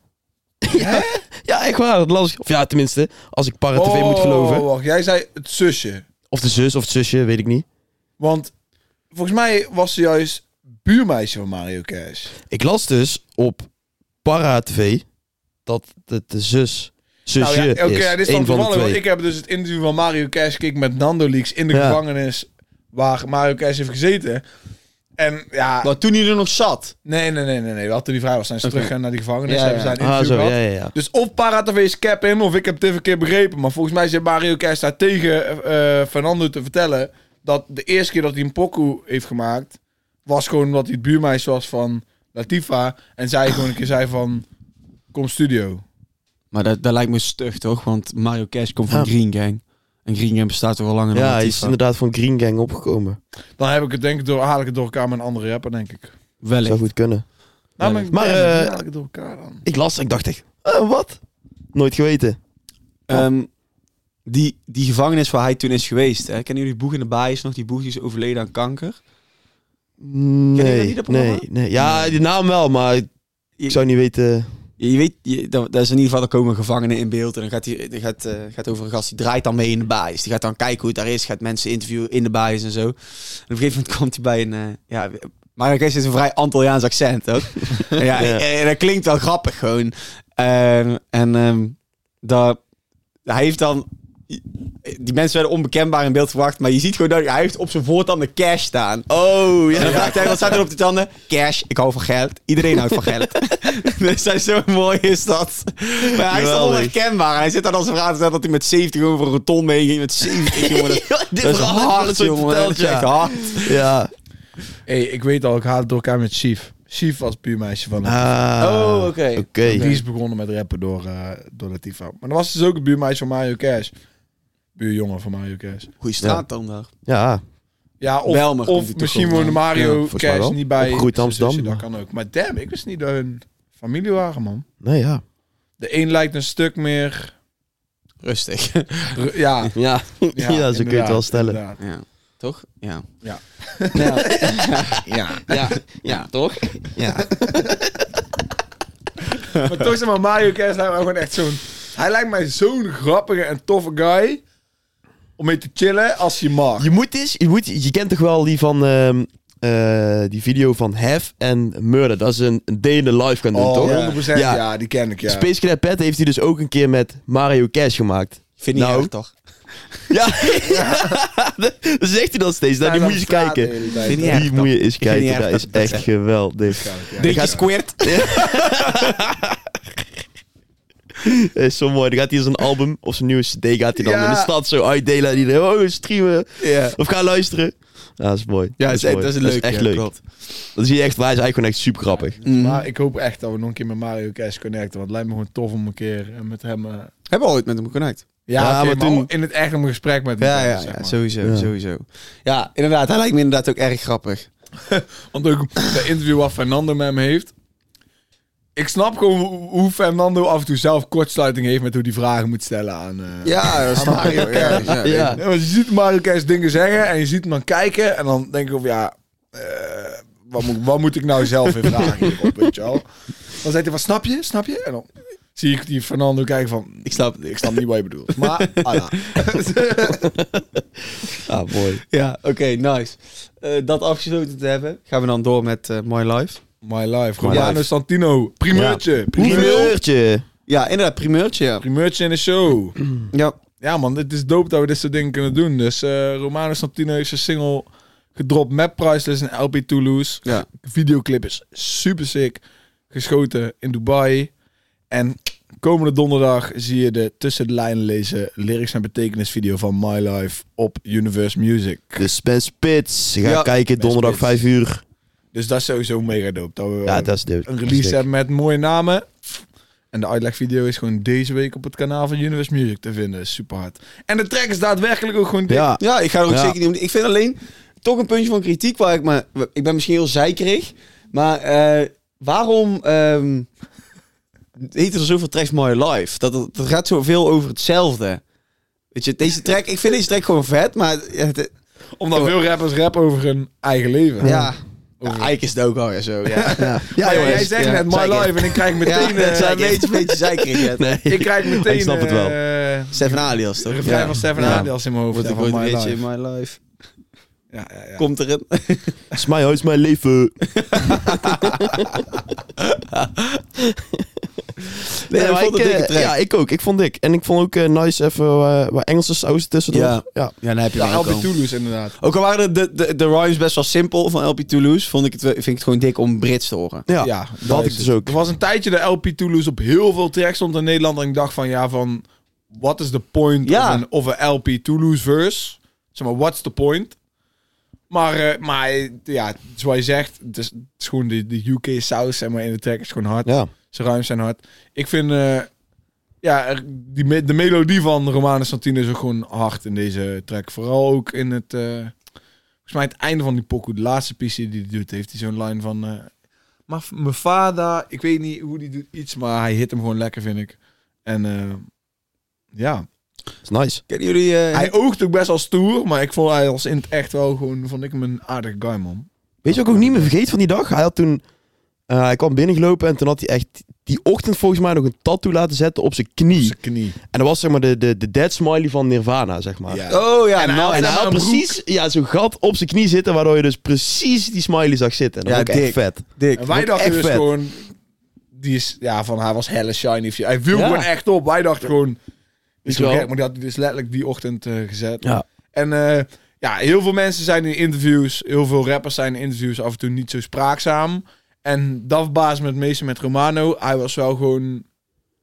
ja. Ja, echt waar. Dat las ik. Of ja, tenminste, als ik Parra TV moet geloven.
Oh, wacht. Jij zei het zusje.
Of de zus of het zusje, weet ik niet.
Want volgens mij was ze juist buurmeisje van Mario Cash.
Ik las dus op Parra TV dat het de zus, zusje
Nou ja, oké,
is.
ja, dit is dan
Eén van de
toevallig. want
twee.
Ik heb dus het interview van Mario Cash gekeken met Nando Leaks in de
Ja.
gevangenis waar Mario Cash heeft gezeten. En ja,
Maar toen hij er nog zat.
nee, nee, nee, nee, nee. Wel, toen die vrij was, zijn ze
Oké.
teruggegaan naar die gevangenis.
Ja,
hebben
ja.
zijn
Ah,
interview
zo,
gehad.
ja, ja, ja.
Dus of Paratave is cap in, of ik heb het even een keer begrepen. Maar volgens mij zit Mario Kers daar tegen eh, Fernando te vertellen... dat de eerste keer dat hij een pokoe heeft gemaakt... was gewoon omdat hij het buurmeisje was van Latifa. En zij gewoon een keer zei van... Kom studio.
Maar dat, dat lijkt me stug, toch? Want Mario Cash komt van
Ja.
Green Gang. En Green Gang bestaat toch al langer dan
Ja, hij
Latifa.
is inderdaad van Green Gang opgekomen.
Dan heb ik het denk ik door, haal ik het door elkaar met een andere rapper, denk ik.
Zou
Wellicht.
goed kunnen.
Nou,
Ja.
ik-
Maar,
dan
eh,
haal ik het door elkaar dan.
Ik las en ik dacht echt, eh, wat? Nooit geweten.
Ehm, die, die gevangenis waar hij toen is geweest. Hè? Kennen jullie Boeg in de Baaiers nog? Die Boeg die is overleden aan kanker. jullie dat
Nee,
niet, dat programma?
nee, nee. Ja, die naam wel, maar
Je,
ik zou niet weten...
je weet, je, dat, dat is in ieder geval, er komen gevangenen in beeld. En dan gaat hij gaat, eh, gaat over een gast, die draait dan mee in de Baaiers. Die gaat dan kijken hoe het daar is. Gaat mensen interviewen in de Baaiers en zo. En op een gegeven moment komt hij bij een... eh, ja, Mario Cash heeft een vrij Antilliaans accent, ook. ja,
Ja.
en- en dat klinkt wel grappig gewoon. Ehm, en ehm, dat, hij heeft dan... Die mensen werden onbekendbaar in beeld gebracht, maar je ziet gewoon dat hij heeft op zijn voortanden cash staan. Oh, ja. En dan vraagt hij, wat staat er op de tanden? Cash, ik hou van geld. Iedereen houdt van geld. dus hij is zo mooi is dat. Maar hij is dan
Geweldig.
onherkenbaar. Hij zit dan als een verhaal te vertellen dat hij met 70 over een ton meeging. Met 70, jongen. Dat,
Dit
dat is hard, jongen. Dat is echt hard.
Ja.
hey, ik weet al, ik haal het door elkaar met Chief. Chief was buurmeisje van Latifa.
Ah,
Oh, oké.
Oké.
Die is begonnen met rappen door, eh, door Latifa. Maar er was dus ook een buurmeisje van Mario Cash. Buurjongen van Mario Cash.
Goeie straat dan daar.
Ja.
Ja, of,
Belmer komt
of
die
misschien
toch wel
woonde
aan.
Mario
Ja, volgens mij
Cash
wel.
niet bij
Opgegroeid
zijn zusje,
Amsterdam.
dat kan ook. Maar damn, ik wist niet dat hun familie waren, man.
Nee, ja.
De een lijkt een stuk meer...
Rustig.
ru- Ja,
Ja,
ja,
ja zo kun je het
inderdaad,
wel stellen.
inderdaad.
Ja. Toch? Ja.
Ja.
Ja.
Ja.
Ja. Ja, toch? Ja.
Maar toch zeg maar, Mario Cash lijkt me gewoon echt zo'n... Hij lijkt mij zo'n grappige en toffe guy... om mee te chillen als je mag.
Je moet eens, je, moet, je kent toch wel die van ehm, eh, die video van Have and Murder. Dat ze een, een day in the life gaan doen, toch?
Oh, 100%. Ja.
Ja.
die ken ik, ja.
Space Cadet Pat heeft hij dus ook een keer met Mario Cash gemaakt.
Vind ik
Nou.
erg, toch?
Ja, dan zegt hij dat steeds. Nou, die
Ja,
moet je eens
dan staat de
kijken.
hele tijd.
Vind je
Die moet je eens
vind het
kijken.
niet
Dat
erg
is
dat-
echt
dat-
geweldig.
Ja.
Dikke
Dikke squirt.
Eh, Zo mooi. Dan gaat hij zijn album of zijn nieuwe CD gaat hij dan
Ja.
in de stad zo uitdelen. En iedereen, oh, streamen.
Ja.
Of ga luisteren. Ja, dat is mooi.
Ja, dat is,
mooi.
dat is leuk.
echt
ja,
leuk.
klopt.
Dan zie je echt, wij is eigenlijk gewoon echt super grappig.
Maar ik hoop echt dat we nog een keer met Mario Cash connecten. Want het lijkt me gewoon tof om een keer eh, met hem... eh,
Hebben we ooit met hem connect?
Ja,
Ja,
oké,
maar
maar
toen-
om- in het echt om een gesprek met hem te
Ja, ja,
hebben,
ja,
zeg maar.
sowieso,
Ja.
sowieso. Ja, inderdaad. Hij lijkt me inderdaad ook erg grappig.
Want ook de interview wat Fernando met hem heeft. Ik snap gewoon hoe- hoe Fernando af en toe zelf kortsluiting heeft met hoe hij vragen moet stellen aan... eh,
Ja, dat is Mario. Ja, ja,
Ja.
Ja, want je ziet Mario Kers dingen zeggen en je ziet hem dan kijken en dan denk ik van ja, eh, wat, moet, wat moet ik nou zelf weer vragen hierop, weet je wel? Dan zegt hij van snap je, snap je? En dan zie ik die Fernando kijken van
Ik snap het.
ik snap niet wat je bedoelt. Maar ah, ja.
Ah, mooi.
Ja, oké, nice. Eh, dat afgesloten te hebben, gaan we dan door met eh, My Life.
My life,
My
Romano
life.
Santino, primeurtje, primeurtje,
Primeurtje.
Ja, inderdaad, primeurtje, ja.
primeurtje in de show.
Ja,
Ja man, het is dope dat we dit soort dingen kunnen doen. Dus eh Romano Santino heeft zijn single gedropt met Priceless en LP Toulouse.
Ja.
Videoclip is super sick. Geschoten in Dubai. En komende donderdag zie je de tussen de lijnen lezen lyrics en betekenis video van My Life op Universe Music.
Dus Ben Spits, ga
Ja,
kijken
Ben
donderdag
Spits.
5 uur.
Dus dat is sowieso mega dope. Dat we
Ja, dat is dope.
een
Dat is
release
dik.
hebben met mooie namen. En de uitlegvideo is gewoon deze week op het kanaal van Universe Music te vinden. Super hard. En de track is daadwerkelijk ook gewoon dik.
Ja,
Ja, ik ga er ook
Ja.
zeker niet om. Ik vind alleen toch een puntje van kritiek waar ik me. Ik ben misschien heel zeikerig, maar eh, waarom ehm heet er zoveel tracks My Life? Dat, dat, dat gaat zoveel over hetzelfde. Weet je, deze track, ik vind deze track gewoon vet, maar ja, het-
Omdat veel rappers rap over hun eigen leven.
ja. ja.
Over-
eigenlijk is het ook alweer zo. Ja,
ja.
Ja,
Ja,
joh, jij
jongens,
zegt
ja,
net my
zeker.
life en ik krijg
ja
meteen... eh,
dat zijn een beetje, beetje zeikerig. hè.
Nee.
ik krijg meteen...
Ik snap het wel.
eh,
Stefan Alias,
de
toch?
refrein
Ja.
van Stefan
Ja.
Adidas in mijn hoofd.
Wordt
ja,
ik
van
ooit
my
een beetje
life.
in my life.
Ja, ja, ja.
Komt erin.
Is mijn huis, mijn leven.
Nee, ik
maar
vond het
eh,
een dikke track.
Ja, ik ook. Ik vond dik. En ik vond ook eh, nice even eh, wat Engelse saus tussendoor.
Ja.
ja.
Ja, dan heb je
Ja, LB Toulouse inderdaad.
Ook al waren de, de, de rhymes best wel simpel van LP Toulouse, vond ik het, vind ik het gewoon dik om Brits te horen.
Ja,
Ja,
dat had ik
is
dus
het.
ook.
Er was een tijdje de LP Toulouse op heel veel tracks stond in Nederland. En ik dacht van, ja, van... What is the point
Ja.
of, een, of een LP Toulouse verse? Zeg maar, what's the point? Maar, eh, maar eh, ja, zoals je zegt, het is, het is gewoon de, de UK saus zeg maar, in de track is gewoon hard.
Ja.
Ze ruim zijn hard. Ik vind... eh, ja, er- die, me- de melodie van Romanus Santino is ook gewoon hard in deze track. Vooral ook in het... eh, volgens mij het einde van die pokoe. De laatste piece die hij doet, heeft hij zo'n line van... eh, maar v- mijn vader, ik weet niet hoe die doet iets, maar hij hit hem gewoon lekker, vind ik. En eh, ja,
is nice.
Kennen jullie... eh,
hij oogt ook best wel stoer, maar ik vond hij als in het echt wel gewoon, vond ik hem een aardig guy, man.
Weet je wat ik ook niet meer vergeet van die dag? Hij had toen... eh, hij kwam binnengelopen en toen had hij echt die ochtend volgens mij nog een tattoo laten zetten op zijn knie.
Zijn knie.
En dat was zeg maar de, de, de dead smiley van Nirvana, zeg maar.
Ja.
Oh ja,
En hij-
nou,
En hij had
Een broek.
precies ja, zo'n gat op zijn knie zitten, waardoor je dus precies die smiley zag zitten. En dat
Ja,
vond ik echt
dik.
vet.
dik.
En wij dachten
echt
dus
vet.
gewoon, die is, ja, van hij was helle shiny. of- Hij viel
Ja.
gewoon echt op. Wij dachten gewoon, die is
Is
gewoon
wel-
gek, maar die had hij dus letterlijk die ochtend eh, gezet.
Ja.
En eh, ja, heel veel mensen zijn in interviews, heel veel rappers zijn in interviews af en toe niet zo spraakzaam. En dat verbaasde me het meeste met Romano. Hij was wel gewoon...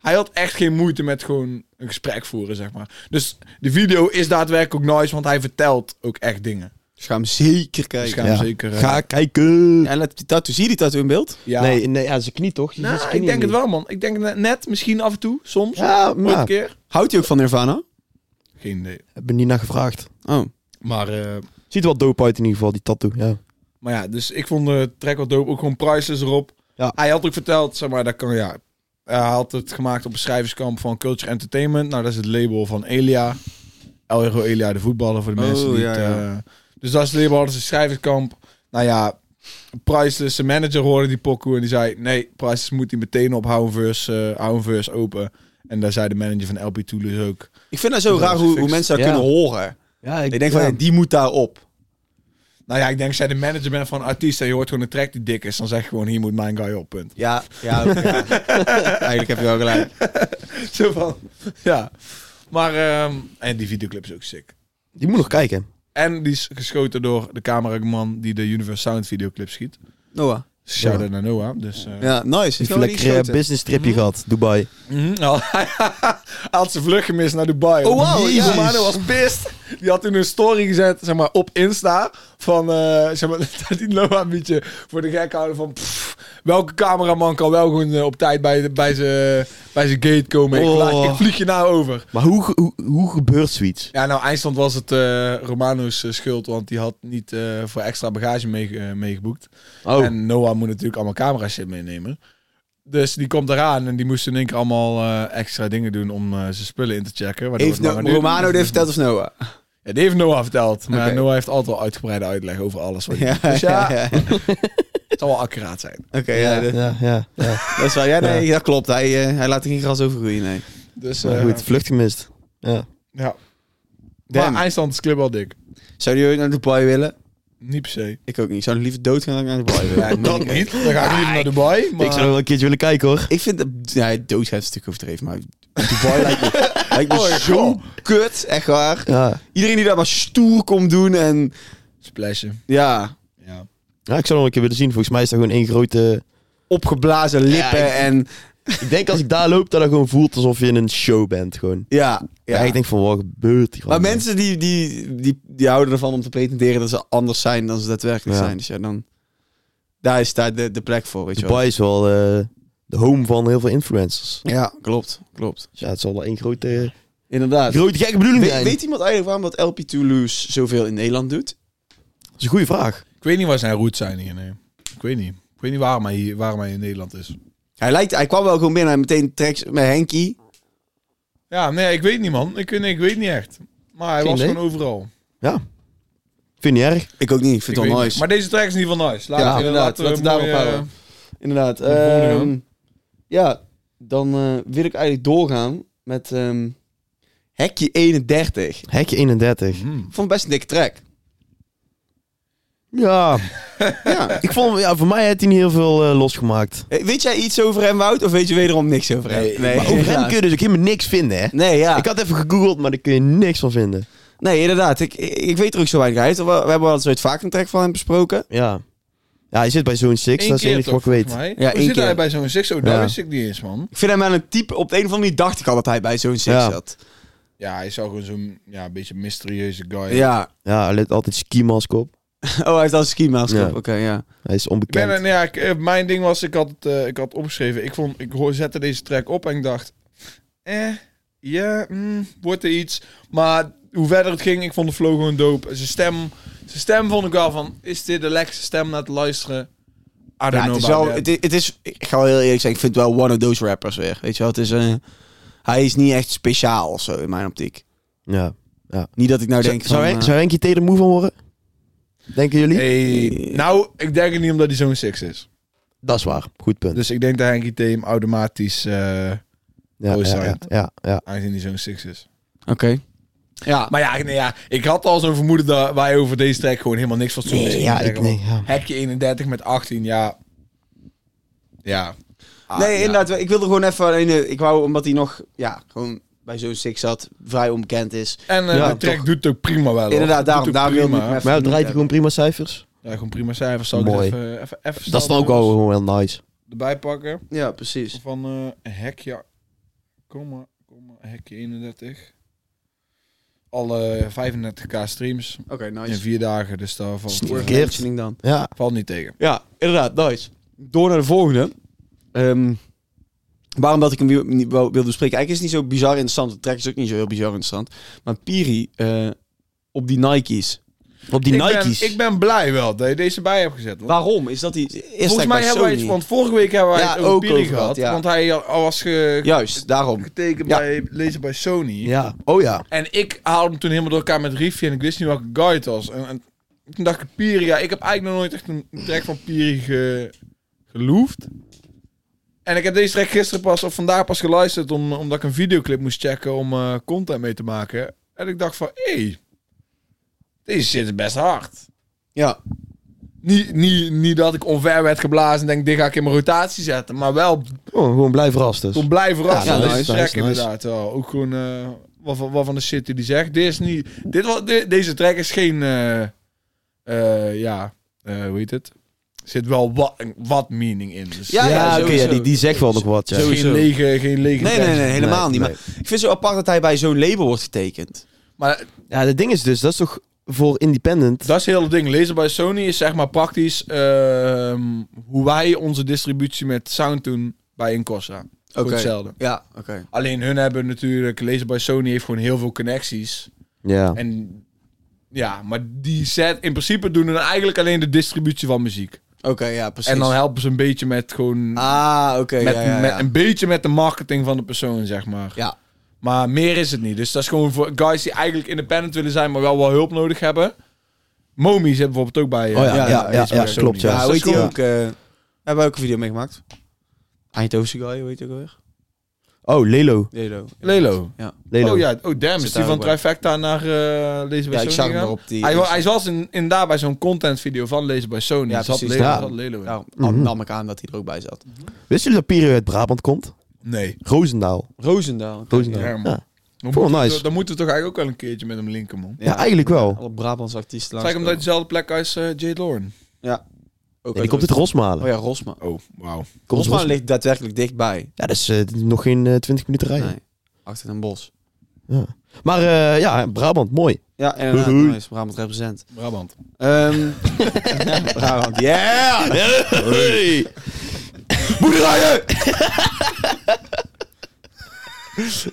Hij had echt geen moeite met gewoon een gesprek voeren, zeg maar. Dus de video is daadwerkelijk ook nice, want hij vertelt ook echt dingen.
Dus ga hem zeker
Dus ik
kijken.
ga hem zeker... eh,
Ga kijken.
Ja, En let op die tattoo. Zie je die tattoo in beeld?
ja.
Nee, nee ja, zijn knie toch? Je ziet
Nou,
zijn
ik
knie
denk het
niet.
wel, man. Ik denk net, net misschien af en toe, soms.
Ja,
Ooit een
maar
keer.
Houdt hij ook van Nirvana?
Geen idee.
heb er niet naar gevraagd.
Oh.
Maar, eh,
Ziet er wel dope uit in ieder geval, die tattoo. Ja.
maar ja, dus ik vond de track wel dope. Ook gewoon priceless erop.
Ja.
Hij had ook verteld, zeg maar, dat kan, ja... Hij had het gemaakt op een schrijverskamp van Culture Entertainment. Nou, dat is het label van Elia. Elro Elia, de voetballer, voor de
Oh,
mensen die
ja,
het...
ja.
eh, dus dat is het label, dat is een schrijverskamp. Nou ja, Priceless, de manager hoorde die pokoe en die zei... Nee, Priceless moet die meteen op Hou een Verse, eh, Hou een Verse open. En daar zei de manager van LP Tool dus ook...
Ik vind dat zo
Dat is
raar hoe, hoe
gefixt.
mensen dat
Ja.
kunnen horen.
ja
Ik denk van, ja, die moet daar op.
Nou ja, ik denk als jij de manager bent van een artiest en je hoort gewoon een track die dik is, dan zeg je gewoon hier moet mijn guy op, punt.
Ja, ja. oké, ja. Eigenlijk heb je wel gelijk.
Zo van, ja. Maar, ehm, en die videoclip is ook sick.
Die moet nog kijken.
En die is geschoten door de cameraman die de Universe Sound videoclip schiet.
Noah.
Shout-out naar Noah. Dus, eh,
Ja, nice.
Heeft een lekker
lekker
business tripje gehad, Dubai.
mhm. Hij had zijn vlucht gemist naar Dubai.
Oh, wauw,
Die
ja.
Romano was pissed. Die had toen een story gezet, zeg maar, op Insta. Van, eh, zeg maar, dat die Noah een beetje voor de gek houden van... pff, welke cameraman kan wel gewoon eh, op tijd bij, de- bij zijn bij zijn gate komen? Ik,
Oh.
laat- ik vlieg je nou over.
Maar hoe, ge- hoe, hoe gebeurt zoiets?
Ja, nou, eindstand was het eh, Romano's eh, schuld, want die had niet eh, voor extra bagage mee, eh, meegeboekt.
Oh,
En Noah moet natuurlijk allemaal camera shit meenemen. Dus die komt eraan en die moest in één keer allemaal eh, extra dingen doen om eh, zijn spullen in te checken. waardoor
Heeft
het langer
nou-
duurde.
Romano dit verteld of Noah?
Ja, die heeft Noah verteld. Maar
Oké.
Noah heeft altijd wel uitgebreide uitleg over alles. Wat ja.
Ja,
Dus ja,
ja, ja.
het zal wel accuraat zijn.
Oké, ja. dat-
ja, ja. ja.
dat is wel... Ja, nee, dat klopt. Hij, eh, hij laat er geen gras over groeien, nee.
Dus
Maar
eh,
goed, vlucht gemist. Ja.
ja. Maar
Damn.
eindstand is clip wel dik.
Zouden jullie naar Dubai willen?
Niet per se.
Ik ook niet. Ik zou liever doodgaan dan aan het blijven. Ja, ik
Dat
meen ik
niet. Dan ga ik liever naar Dubai. Maar...
Ik zou wel een keertje willen kijken hoor.
Ik vind, dat- ja, doodgaan is een stuk overdreven, maar Dubai lijkt me, lijkt me zo kut, echt waar.
Ja.
Iedereen die daar maar stoer komt doen en
Splashen.
ja,
Ja.
ja, ik zou nog een keer willen zien. Volgens mij is dat gewoon één grote...
opgeblazen lippen
Ja, ik-
en
Ik denk als ik daar loop, dat het gewoon voelt alsof je in een show bent gewoon.
ja.
Ja.
ja.
ik denk van, wat gebeurt hier
maar
allemaal?
mensen die, die, die, die houden ervan om te pretenderen dat ze anders zijn dan ze daadwerkelijk
Ja.
zijn. Dus ja, dan, daar is daar de, de plek voor, weet je wel.
Dubai is wel eh, de home van heel veel influencers.
Ja, klopt, klopt.
Dus ja, het zal wel één grote,
Inderdaad.
grote gekke bedoeling
We-
zijn.
weet iemand eigenlijk waarom dat LP Toulouse zoveel in Nederland doet?
Dat is een goede vraag.
Ik weet niet waar zijn roots zijn hier, nee. Ik weet niet. Ik weet niet waarom hij, hier- waarom hij in Nederland is.
Hij, lijkt, hij kwam wel gewoon binnen en meteen tracks met Henky.
Ja, nee, ik weet niet, man. Ik, nee, ik weet niet echt. Maar hij
Geen
was
idee.
gewoon overal.
Vind je niet erg?
Ik ook niet, ik
Ik
vind het
weet
wel
niet.
nice.
Maar deze track is in ieder geval nice. Laten
Ja,
we eh,
inderdaad.
inderdaad,
Laten we daarop houden. Inderdaad.
De volgende
ehm,
dan.
ja, dan eh, wil ik eigenlijk doorgaan met ehm Hekje 31. Ik
Hekje 31.
Hmm.
vond het best een dikke track.
Ja,
Ja.
ik vond, ja, voor mij heeft hij niet heel veel eh, losgemaakt.
Eh, Weet jij iets over hem, Wout? Of weet je wederom niks over hem?
Nee,
Maar over hem
inderdaad.
kun je dus ook helemaal niks vinden, hè?
Nee, ja.
Ik had even gegoogeld, maar daar kun je niks van vinden.
nee, inderdaad. Ik, ik ik weet er ook zo weinig uit. We, we hebben wel eens ooit vaak een track van hem besproken.
Ja. Ja, hij zit bij zo'n six,
Eén
dat is het
keer
enige wat
toch,
ik weet.
volgens mij.
Ja,
Hoe
één
zit
keer.
hij bij zo'n 6? Oh, dat
Ja.
wist ik niet eens, man.
Ik vind hem wel een type... Op de een of andere manier dacht ik al dat hij bij zo'n six
Ja.
zat.
Ja, hij zou gewoon zo'n ja, een beetje mysterieuze guy.
Ja.
Ja, hij let altijd ski mask op.
Oh, hij heeft al een ski mask op.
Ja.
Oké, ja.
Hij is
Ik ben,
onbekend.
nou ja, ik, eh, mijn ding was, ik had, het, eh, ik had opgeschreven, ik, vond, ik hoor, zette deze track op en ik dacht, eh, ja, mm, wordt er iets. Maar hoe verder het ging, ik vond de flow gewoon dope. Zijn stem, zijn stem vond ik wel van, is dit de lekkerste stem naar te luisteren? I don't
Ja,
know
het is
about
wel,
that.
het, i- het is, ik ga wel heel eerlijk zeggen, ik vind het wel one of those rappers weer. Weet je wel, het is, eh, hij is niet echt speciaal of zo in mijn optiek.
Ja.
Niet dat ik nou
Zou,
denk
zou,
van...
Hen-
eh,
zou Henkie T er moe van worden? Denken jullie?
Hey, nou, ik denk het niet omdat hij zo'n six is.
Dat is waar. Goed punt.
Dus ik denk dat Henkie T hem automatisch, eh
ja,
Oh,
ja,
sorry.
ja, ja, ja.
aangezien hij zo'n six is.
Oké. Ja,
Maar ja, nee, ja, ik had al zo'n vermoeden dat wij over deze track gewoon helemaal niks van zoeken.
Nee, ja, ik, nee, ja.
Hekje 31 met 18, ja. Ja. Ah,
nee,
ja.
inderdaad, ik wilde gewoon even... alleen, eh, ik wou, omdat hij nog, ja, gewoon bij zo'n six zat, vrij onbekend is.
En eh
Ja,
de track doet het ook prima wel. hoor.
Inderdaad, daarom-
Doet ook
daarom
prima.
wilde ik hem
Maar ja, draait hij gewoon prima cijfers?
Ja, gewoon prima cijfers. Zal ik
Mooi.
het even, even, even
Dat is dan ook al gewoon wel nice.
Erbij pakken.
Ja, precies.
Van eh hekje... Komma, komma, hekje 31. Alle 35k streams
Oké,
in
nice.
vier dagen. Dus daar valt,
Stiekem.
eh,
verkeerd.
Mentioning dan.
Ja.
valt niet tegen.
Ja, inderdaad, nice. Door naar de volgende. Ehm, waarom dat ik hem wi- niet wou- wilde bespreken. Eigenlijk is het niet zo bizar interessant. De track is ook niet zo heel bizar interessant. Maar Piri eh, op die Nike's.
Op die
ik
Nike's.
Ben, ik ben blij wel dat je deze bij hebt gezet. Want
Waarom? Is dat die... Is
volgens mij hebben wij het, want vorige week hebben wij
Ja,
het over
ook
Piri
over
gehad.
gehad, ja.
Want hij al was ge-
Juist, daarom.
getekend
Ja.
bij lezen bij Sony.
Ja. Oh ja.
En ik haalde hem toen helemaal door elkaar met Riefje en ik wist niet welke guy het was. En, en toen dacht ik, Piri, ja, ik heb eigenlijk nog nooit echt een track van Piri ge, geloofd. En ik heb deze track gisteren pas, of vandaag pas geluisterd, om, omdat ik een videoclip moest checken om eh, content mee te maken. En ik dacht van, hé, hey, deze shit is best hard.
Ja.
Niet, niet, niet dat ik onver werd geblazen en denk, dit ga ik in mijn rotatie zetten. Maar wel
Oh, gewoon blij verrast dus.
Gewoon blij verrast.
Ja,
Ja,
nice,
deze track
nice, nice.
inderdaad wel. Ook gewoon eh, wat, van- wat van de shit die die zegt. Dit is niet, dit, wa- de- deze track is geen... eh, eh, ja, eh, hoe heet het? Zit wel wat, wat meaning in. Dus
Ja,
Ja,
ja,
oké,
sowieso.
ja, die, die zegt wel nog wat. Ja.
het is
sowieso.
geen lege, geen lege
Nee,
track.
nee, nee, helemaal
Nee,
niet.
nee.
Maar ik vind het zo apart dat hij bij zo'n label wordt getekend.
Maar
Ja, het ding is dus, dat is toch voor independent.
dat is het hele ding. Laser by Sony is zeg maar praktisch ehm, hoe wij onze distributie met sound doen bij Incossa. Gewoon
Oké.
hetzelfde.
Ja, oké.
Alleen hun hebben natuurlijk... Laser by Sony heeft gewoon heel veel connecties.
Ja.
En ja, maar die set, in principe doen we dan eigenlijk alleen de distributie van muziek.
Oké, ja, precies.
En dan helpen ze een beetje met gewoon.
Ah, oké.
met,
ja, ja, ja.
met- een beetje met de marketing van de persoon, zeg maar.
Ja.
Maar meer is het niet. Dus dat is gewoon voor guys die eigenlijk independent willen zijn, maar wel wel hulp nodig hebben. Momies hebben bijvoorbeeld ook bij. eh,
Oh ja,
bij
ja, ja,
Laser
ja,
by
klopt,
Sony.
ja.
Ja,
Dus dat
hoe heet
is
die
gewoon-
ook? eh hebben we ook een video meegemaakt? Eindhovense guy, hoe heet die ook alweer?
Oh, Lelo.
Lelo.
Lelo.
Lelo.
Oh ja, oh damn, is
Zit
die
daar
van
ook bij.
Trifecta naar eh Lazy by
Ja, ik
Sony
zag hem
gegaan?
erop. Die
Hij, wa- hij was in, inderdaad bij zo'n contentvideo van Lazy by Sony. Dus
Ja,
Ja, zat
precies,
Lelo,
ja.
zat Lelo in.
Daarom
Mhm.
nam ik aan dat hij er ook bij zat.
Wist jullie dat Pirio uit Brabant komt?
Nee.
Roosendaal.
Roosendaal.
Roosendaal.
Ja,
Ja,
man. Dan
Vond
moeten,
wel
we-
nice.
dan moeten we toch eigenlijk ook wel een keertje met hem linken, man.
Ja, eigenlijk wel.
Alle Brabants artiesten
Zeg hem
langskomen.
dat dezelfde plek als eh, Jade Lauren.
Ook
Nee, die
uit
komt uit Rosmalen.
Oh ja, Rosma.
Oh, wauw.
Komt uit
Rosma
Rosmalen.
ligt daadwerkelijk dichtbij.
Ja, dat is eh, nog geen eh, 20 minuten rijden.
Nee. Achter een bos.
Maar eh, ja, Brabant, mooi.
Ja, en
Doei, doei.
nice. Brabant represent.
Brabant.
Ehm Brabant, yeah!
Hey. Boerderijen!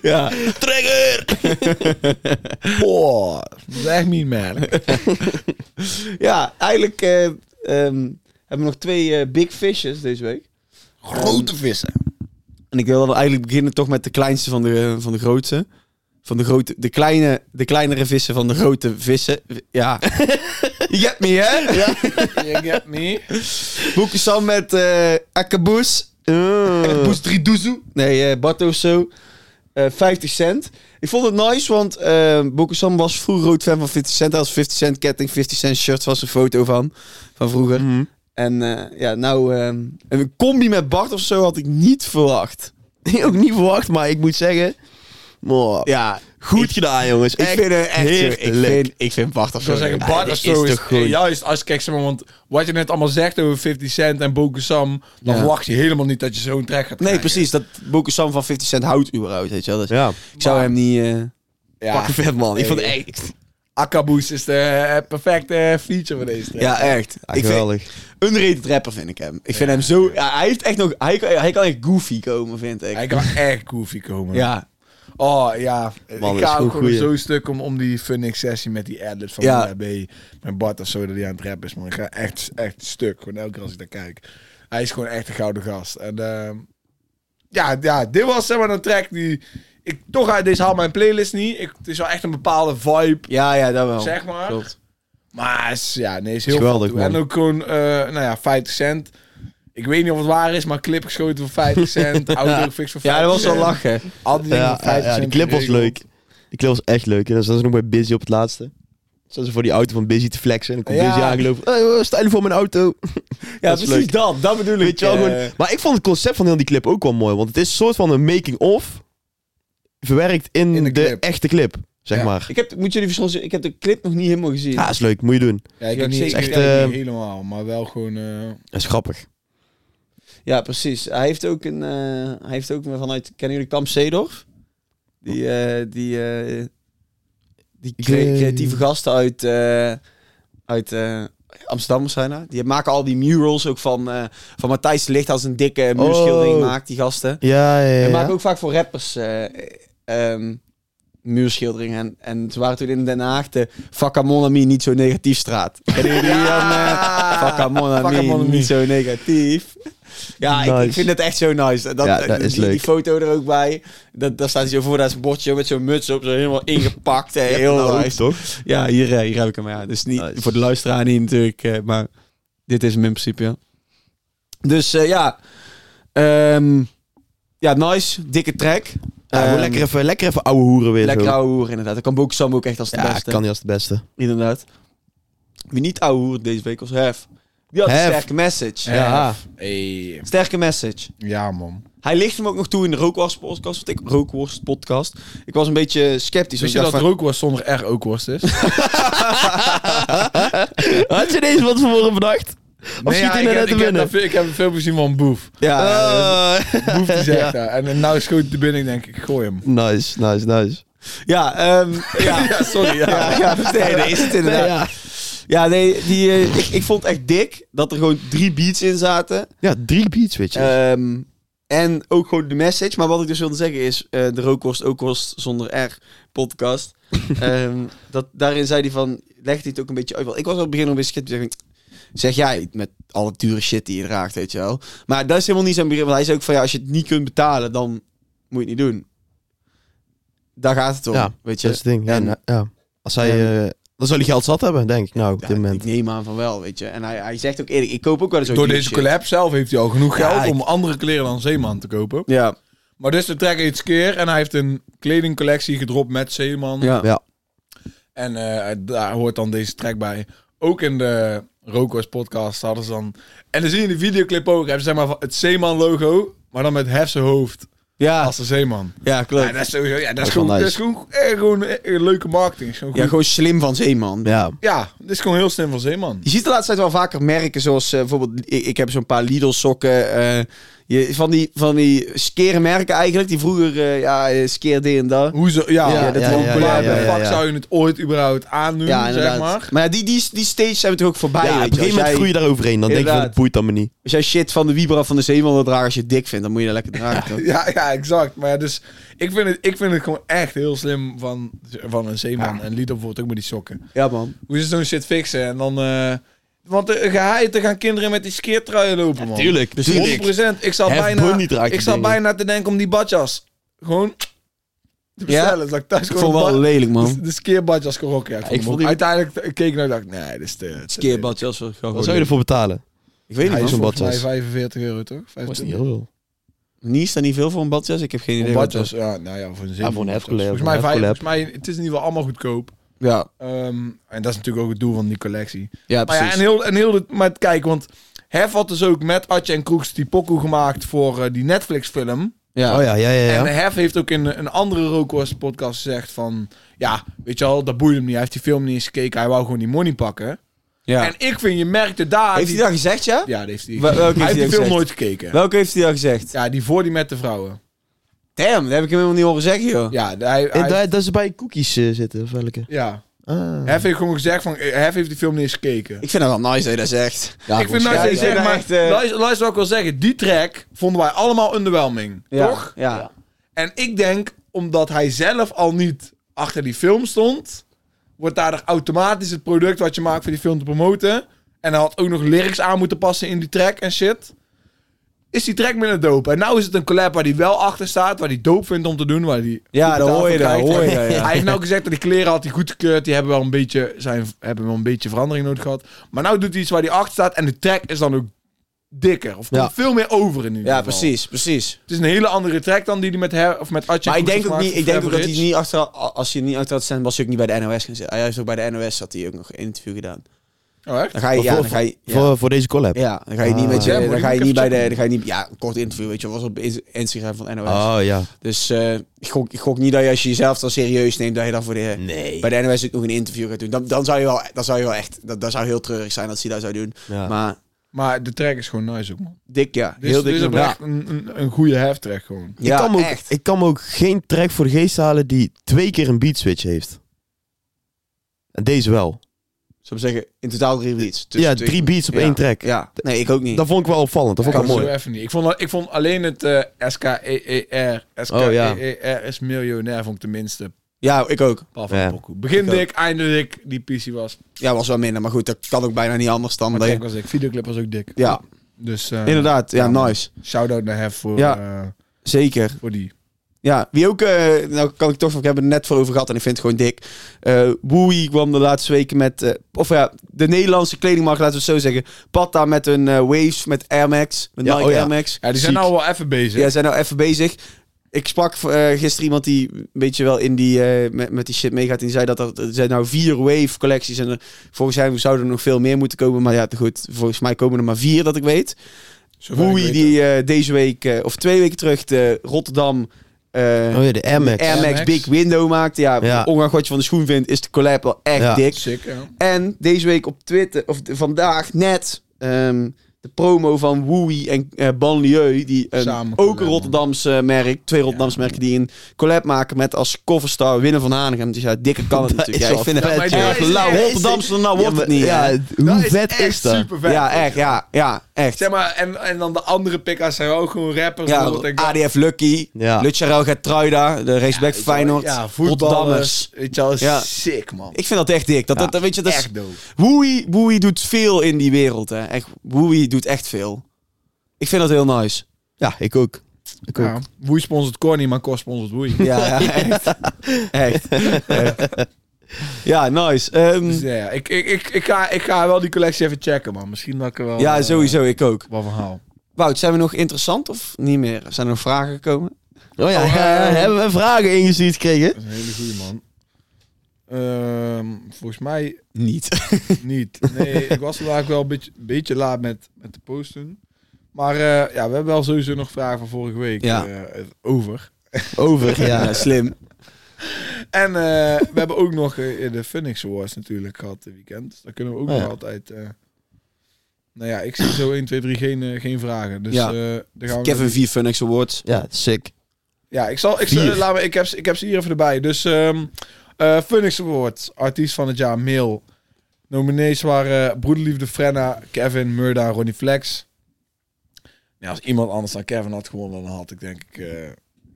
ja. Trigger!
Boah, dat is echt niet man.
Ja, eigenlijk eh, ehm, hebben we nog twee eh, big fishes deze week.
Grote vissen.
En ik wil dan eigenlijk beginnen toch met de kleinste van de, eh, van de grootste. Van de grote, de kleine, de kleinere vissen van de grote vissen. Ja. Je hebt me, hè? Ja.
You get me?
Boeken Sam met eh Akkaboes. Akkaboes Dridoezoe. Nee, eh Barto zo. Eh, 50 cent. Ik vond het nice, want eh Boeken Sam was vroeger rood fan van 50 cent. Hij was 50 cent ketting, 50 cent shirts was een foto van. Van vroeger. En eh, ja, nou, ehm, een combi met Bart of zo had ik niet verwacht.
Ook niet verwacht, maar ik moet zeggen... mooi.
Ja,
Goed gedaan, jongens.
ik vind het echt ik
heerlijk.
vind, ik vind Bart of
Ik
zo.
zou zeggen,
leuk.
Bart
dat
of
is
zo is,
toch goed.
juist als kijk zeg maar, want wat je net allemaal zegt over 50 Cent en Boku Sam, dan
Ja.
verwacht je helemaal niet dat je zo'n track gaat
Nee,
krijgen.
precies. Dat Boeken Sam van 50 cent houdt überhaupt, weet je wel. Dus
Ja.
Ik zou hem niet... eh
Ja.
Pakken vet, man. Ik vond het echt...
Akkaboes is de eh, perfecte feature van deze track.
Ja, echt. ik vind,
geweldig.
underrated rapper vind ik hem. Ik vind hem zo... Ja, hij heeft echt nog... Hij, kan- hij kan echt goofy komen, vind ik.
Hij kan echt goofy komen.
ja.
Oh ja, ik
Man, dat is
ga ook
goed
gewoon
goeie.
zo stuk om, om die Funix sessie met die adlibs van
Ja.
ja. B. Met Bart of zo, dat hij aan het rappen is. Man, ik ga echt, echt stuk. Gewoon elke keer als ik daar kijk. Hij is gewoon echt een gouden gast. En ehm, ja, ja, dit was zeg maar een track die... Ik, toch uit deze haal mijn playlist niet. Ik, het is wel echt een bepaalde vibe,
Ja, ja, dat wel.
zeg maar.
Klopt.
Maar is- ja, nee, is heel
Geweldig,
veel toe. En
man.
ook gewoon, eh, nou ja, 50 cent. Ik weet niet of het waar is, maar clip geschoten voor 50 cent. Auto fix voor 50
Ja, dat was wel
cent.
lachen.
Al die
Ja,
dingen
ja,
voor 50
ja, die
cent
clip was
geregeld.
leuk. Die clip was echt leuk. En dan zaten ze nog bij Busy op het laatste. Zaten ze voor die auto van Busy te flexen. En dan komt
Ja.
Busy aangelopen. Hey, hoor, Eh, sta je voor mijn auto?
Ja,
Dat is
precies
leuk.
dat. Dat bedoel ik.
Weet je wel,
eh,
gewoon... Maar ik vond het concept van heel die clip ook wel mooi. Want het is een soort van een making-of. Verwerkt in,
In de
de,
clip.
echte clip, zeg
Ja.
maar.
Ik heb, moet jullie verschil zien, ik heb de clip nog niet helemaal gezien.
Ja, is leuk. Moet je doen.
Ja, ik
Ja,
heb niet,
zeker.
echt,
Echt, eh,
niet helemaal, maar wel gewoon... eh,
Dat is grappig.
Ja, precies. Hij heeft ook een... eh, hij heeft ook een vanuit... Kennen jullie Kam Seedorf? Die... eh, die eh, die cre-
Ik, eh,
creatieve gasten uit... eh, uit eh, Amsterdam zijn dat. Die maken al die murals ook van... eh, van Matthijs de Licht als een dikke muurschildering
Oh.
maakt, die gasten.
Ja, ja,
En maken
ja.
ook vaak voor rappers... eh, ehm, muurschilderingen. En, en ze waren toen in Den Haag de Vakamonami niet zo negatief straat. Kennen jullie die dan, eh? Vakamonami,
Vakamonami.
niet zo negatief. Ja, ik- ik,
Nice.
vind het echt zo nice. Dat, eh,
Ja, dat is
die,
leuk.
die foto er ook bij. Dat, daar staat hij zo voor, daar is een bordje met zo'n muts op. Zo helemaal ingepakt. hè, heel
Nou,
nice.
toch?
Ja, hier, eh, hier heb ik hem. Ja. Dus niet,
Nice.
Voor de luisteraar niet natuurlijk. eh, Maar dit is hem in principe, ja. Dus eh, ja. Ehm, ja, nice. Dikke track.
Ja, gewoon
Ehm,
lekker even, lekker even ouwe hoeren weer.
Lekker
zo.
ouwe hoer, inderdaad. Dat kan Boek Sam ook echt als de
Ja,
beste.
kan niet als de beste.
Inderdaad. Wie niet ouwe hoer deze week was Hef. Die had een
Hef.
sterke message.
Ja.
Hey.
Sterke message.
Ja, man.
Hij licht hem ook nog toe in de Rookworst podcast. Want ik, Rookworst podcast. Ik was een beetje sceptisch.
Wist
want
je
ik
dat
dacht
rookworst zonder R ook dus? worst is? nee,
Had je deze wat vervoren bedacht? Of schiet hij
ik, heb,
nou net te
ik, heb,
binnen?
dat- ik heb een filmpje gezien van Boef.
van- ja,
Ah.
ja,
Boef die zegt
Ja.
dat. En, en nou schoot hij er binnen, ik denk ik, gooi hem.
Nice, nice, nice.
ja, ehm, ja, ja, sorry. Ja, ja, nee, nee, is het inderdaad. ja. nee, die, eh, ik, ik vond echt dik dat er gewoon drie beats in zaten.
Ja, drie beats, weet je.
Ehm, en ook gewoon de message. Maar wat ik dus wilde zeggen is, eh, de rookworst ook worst zonder R podcast. Ehm, dat, daarin zei hij van, legt hij het ook een beetje uit. Want ik was al het begin nog een beetje sceptisch. Ik denk, Zeg jij het met alle dure shit die je draagt, weet je wel. Maar dat is helemaal niet zijn begrip. Want hij zei ook van, ja, als je het niet kunt betalen, dan moet je het niet doen. Daar gaat het om,
Ja,
weet je.
dat is het ding. Ja,
en-
nou, ja. Als hij, eh, dan zal hij geld zat hebben, denk ik. Nou, op dit
Ja,
moment.
ik neem aan van wel, weet je. En hij, hij zegt ook eerlijk, ik koop ook wel eens
Door
dure
deze
shit.
collab zelf heeft hij al genoeg
Ja,
geld
ik-
om andere kleren dan Zeeman te kopen.
Ja,
Maar dus de track iets keer en hij heeft een kledingcollectie gedropt met Zeeman.
Ja.
Ja.
En eh, daar hoort dan deze track bij. Ook in de Rokos podcast hadden ze dan... En dan zie je in de videoclip ook, hebben ze zeg maar het Zeeman logo, maar dan met Hef zijn hoofd
Ja,
als de Zeeman.
ja, klopt.
Ja, dat is sowieso, ja, dat is
is wel
gewoon, dat is
nice.
gewoon, eh, gewoon eh, leuke marketing. Is gewoon
Ja,
goed.
gewoon slim van Zeeman.
Ja.
ja, dit is gewoon heel slim van Zeeman.
Je ziet de laatste tijd wel vaker merken, zoals eh, bijvoorbeeld, ik, ik heb zo'n paar Lidl sokken. eh, je, van, die, van die skere merken eigenlijk, die vroeger, eh, ja, eh, skeer dit en dat.
Hoezo? Ja,
Ja,
dat
ja,
gewoon
ja,
waar
ja,
de
ja, ja,
fuck
ja.
zou je het ooit überhaupt aandoen,
Ja,
zeg
inderdaad.
maar.
ja, die, die, die stages zijn we toch ook voorbij.
ja, op
weet
een
je.
gegeven
Als
moment
jij-
groei je daaroverheen. Dan denk je van,
Inderdaad.
het boeit allemaal niet.
Als jij shit van de Wiebra van de Zeeman wil dragen als je het dik vindt, dan moet je dat lekker dragen. toch?
Ja, ja, exact. Maar ja, dus ik vind, het, ik vind het gewoon echt heel slim van, van een zeeman. En Lidl bijvoorbeeld ook met die sokken.
Ja, man.
Hoe ze zo'n shit fixen en dan... eh, want eh, geheiten gaan kinderen met die skeertruien lopen, man.
Tuurlijk,
Dus 100%. Ik zat
Hef
bijna,
Bundy draagt
ik
die
zat
dingen.
bijna te denken om die badjas gewoon te bestellen. Dus dat ik thuis
Ik
gewoon
vond het wel
een
lelijk,
ba-
man.
de skeerbadjas kon rocken. Ja, ik vond
vond
hem
die-
ook- Uiteindelijk ik keek ik naar en dacht, nee, dit is te... te-
jas was
Wat zou je ervoor betalen?
Ik weet
Hij
niet,
is
man.
zo'n
volgens mij
badjas?
45 euro, toch?
Dat is
25.
niet heel veel.
Niet is daar niet veel voor een badjas? Ik heb geen idee.
Een
wat
badjas, ja, nou ja, voor een zeven.
voor een
of zo.
hefcollab,
Volgens
voor
mij,
een
vijf-
hefcollab.
volgens mij, het is in ieder geval allemaal goedkoop.
dat- Ja,
Ehm, en dat is natuurlijk ook het doel van die collectie.
ja,
Maar
precies.
ja, en heel, en heel de, maar kijk, want Hef had dus ook met Atje en Kroeks die pokoe gemaakt voor eh, die Netflix-film.
Ja. eh,
Oh ja, ja, ja. ja.
En Hef heeft ook in een andere Rookworst podcast gezegd van... Ja, weet je wel, dat boeit hem niet. Hij heeft die film niet eens gekeken. Hij wou gewoon die money pakken.
Ja.
En ik vind, je merkte daar...
Heeft hij
die-
dat gezegd, ja?
Ja, dat heeft hij.
Wel- welke heeft
hij
hij
heeft die
ook
film
gezegd?
nooit gekeken.
Welke heeft hij dat gezegd?
Ja, die voor die met de vrouwen.
Damn, dat heb ik hem helemaal niet horen zeggen, joh.
Ja, hij,
Eh,
hij,
daar- dat ze bij cookies eh, zitten, of welke?
ja.
Ah.
Hef heeft gewoon gezegd van... eh, Hef heeft die film niet eens gekeken.
Ik vind dat wel nice dat je dat zegt.
ik vind
mij-
nou,
ja,
ik zeg
ja,
maar,
echt, eh,
luister, luister wat ik wil zeggen. Die track vonden wij allemaal underwhelming, toch?
Ja.
En ik denk, omdat hij zelf al niet achter die film stond, wordt daar automatisch het product wat je maakt voor die film te promoten. En hij had ook nog lyrics aan moeten passen in die track en shit. Is die track minder dope. En nou is het een collab waar hij wel achter staat, waar hij dope vindt om te doen, waar hij
Ja, dan hoor je dat,
Kijk,
hoor je
hij-
dat, ja.
Hij heeft nou gezegd dat die kleren had hij goedgekeurd. Die hebben wel een beetje, zijn, hebben wel een beetje verandering nodig gehad. Maar nou doet hij iets waar hij achter staat. En de track is dan ook dikker. Of komt
Ja.
veel meer over in ieder
Ja,
geval.
precies, precies.
Het is een hele andere track dan die hij met, her, of met Atje
Maar ik
Kroes
denk ook
gemaakt
niet,
voor
ik denk ook dat hij
Average.
niet achter, als hij niet achter had staan, was hij ook niet bij de NOS gaan zitten. Hij heeft ook bij de NOS zat hij ook nog een interview gedaan.
Oh, echt?
Dan ga je, ja,
voor,
dan ga je, ja.
voor, voor deze collab.
Ja, dan ga je niet
Ah.
met
Ja,
je,
moet
dan
ik
ga je
even
niet bij de,
checken.
dan ga je niet, ja, een kort interview, weet je, was op Ins- Instagram van NOS.
Oh ja.
Dus eh, ik, gok, ik gok niet dat je als je jezelf dan serieus neemt, dat je dan voor de,
Nee.
bij de NOS ook nog een interview gaat doen. Dan, dan zou je wel, dan zou je wel echt, dat, dat zou heel treurig zijn als hij dat zou doen.
Ja.
Maar
Maar de track is gewoon nice ook, man.
dik ja,
Dit
heel
is, dit
dik.
is
nummer.
oprecht een, een, een goede heftrack gewoon.
Ja,
ik, kan me ook,
echt.
ik kan me ook geen track voor de geest halen die twee keer een beat switch heeft. En deze wel.
Zou ik zeggen, in totaal drie beats. Dus
ja,
twee-
drie beats op
Ja.
één track.
Ja, nee, ik ook niet.
Dat vond ik wel opvallend. Dat
Ik
vond ik
kan
wel
zo
mooi.
even niet. Ik vond, ik vond alleen het eh SKEER.
Oh, ja.
SKEER E is miljonair, vond ik tenminste.
Ja, ik ook.
Paul van
Ja.
Pokoe. Begin
Ik ook.
dik, einde dik. Die PC was.
Ja, was wel minder, maar goed, dat kan ook bijna niet anders dan.
Maar
dat je-
track was dik. Videoclip was ook dik.
ja,
Dus eh,
inderdaad. Ja,
ja,
nice.
shout-out naar Hef voor,
Ja.
eh,
Zeker.
voor die.
Ja, wie ook, eh, nou kan ik toch, ik heb het er net voor over gehad en ik vind het gewoon dik. Eh Woei kwam de laatste weken met, eh, of ja, de Nederlandse kledingmarkt, laten we het zo zeggen. Patta met hun eh, Waves, met Air Max, met
Ja,
Nike
oh ja.
Air Max.
Ja, die zijn
Ziek.
nou wel even bezig.
Ja, ze zijn nou even bezig. Ik sprak eh, gisteren iemand die een beetje wel in die, eh, met, met die shit meegaat. En die zei dat er, er zijn nou vier wave collecties. En er, volgens mij zouden er nog veel meer moeten komen. Maar ja, goed, volgens mij komen er maar vier dat ik weet.
Zover ik
Woei
weet
die eh, deze week, eh, of twee weken terug, de Rotterdam eh,
Oh ja, de Air Max.
Air
Air
Max
Max.
Big Window maakte. Ja,
Ja.
ongeacht wat je van de schoen vindt, is de collab wel echt
Ja.
het.
dik.
eh, Sick, ja.
En deze week op Twitter, of de- vandaag net, ehm, de promo van Woei en eh Banlieue. Die een-
Samen
ook een
collab,
Rotterdamse merk, twee Rotterdamse merken die een collab maken met als coverstar Winnen van Hanegem. Dus ja, dikker kan het natuurlijk. Ja,
is wel
ik vind het
vet,
echt
ja.
erg lauw. Rotterdamse, nou wordt het niet.
Ja,
hè.
hoe
Dat is
vet
echt
is dat?
super vet.
ja, echt, ja, ja, echt.
Zeg maar, en, en dan de andere pika's zijn ook gewoon rappers.
Ja,
bijvoorbeeld. Ik denk-
ADF Lucky,
Ja.
Lucharel Gertruida, de raceback van Feyenoord,
Ja, voetballers.
Rotterdammers.
Weet je wel, is
Ja.
sick, man.
Ik vind dat echt dik. Dat,
Ja,
dat, dat- weet je, dat is,
Echt dope.
Woei, Woei doet veel in die wereld. Hè. Echt, Woei doet echt veel. Ik vind dat heel nice.
Ja, ik ook. Ik ook.
Ja. Woei sponsort Corny, maar Cor sponsort Woei.
Ja, ja, echt. echt. Echt. Ja, nice. Ehm,
Dus ja, ja, ik, ik, ik, ik, ga, ik ga wel die collectie even checken, man. Misschien dat ik er wel...
ja,
eh,
sowieso. Ik ook.
Wat verhaal.
Wout, zijn we nog interessant of niet meer? Zijn er nog vragen gekomen?
Oh ja,
Oh, eh.
hebben we vragen ingestuurd gekregen?
Dat is een hele goede man. Ehm, volgens mij
Niet.
niet. Nee, ik was vandaag wel een beetje, beetje laat met, met de posten. Maar eh, ja, we hebben wel sowieso nog vragen van vorige week
Ja.
eh, over.
Over, ja.
slim.
En eh, we hebben ook nog eh, de Phoenix Awards natuurlijk gehad dit weekend. Dus daar kunnen we ook
Oh ja.
nog altijd... eh, nou ja, ik zie zo 1, 2, 3 geen, eh, geen vragen. Dus
Ja.
ja. daar gaan we...
Kevin 4 Funnex Awards.
Ja, sick.
Ja, ik zal. Ik,
Vier.
zal laat me, ik, heb, ze- ik heb ze hier even erbij. Dus ehm eh Phoenix Award, artiest van het jaar, Mail. Nominees waren eh, Broederliefde Frenna, Kevin, Murda, Ronnie Flex. Ja, als iemand anders dan Kevin had gewonnen, dan had ik denk ik eh,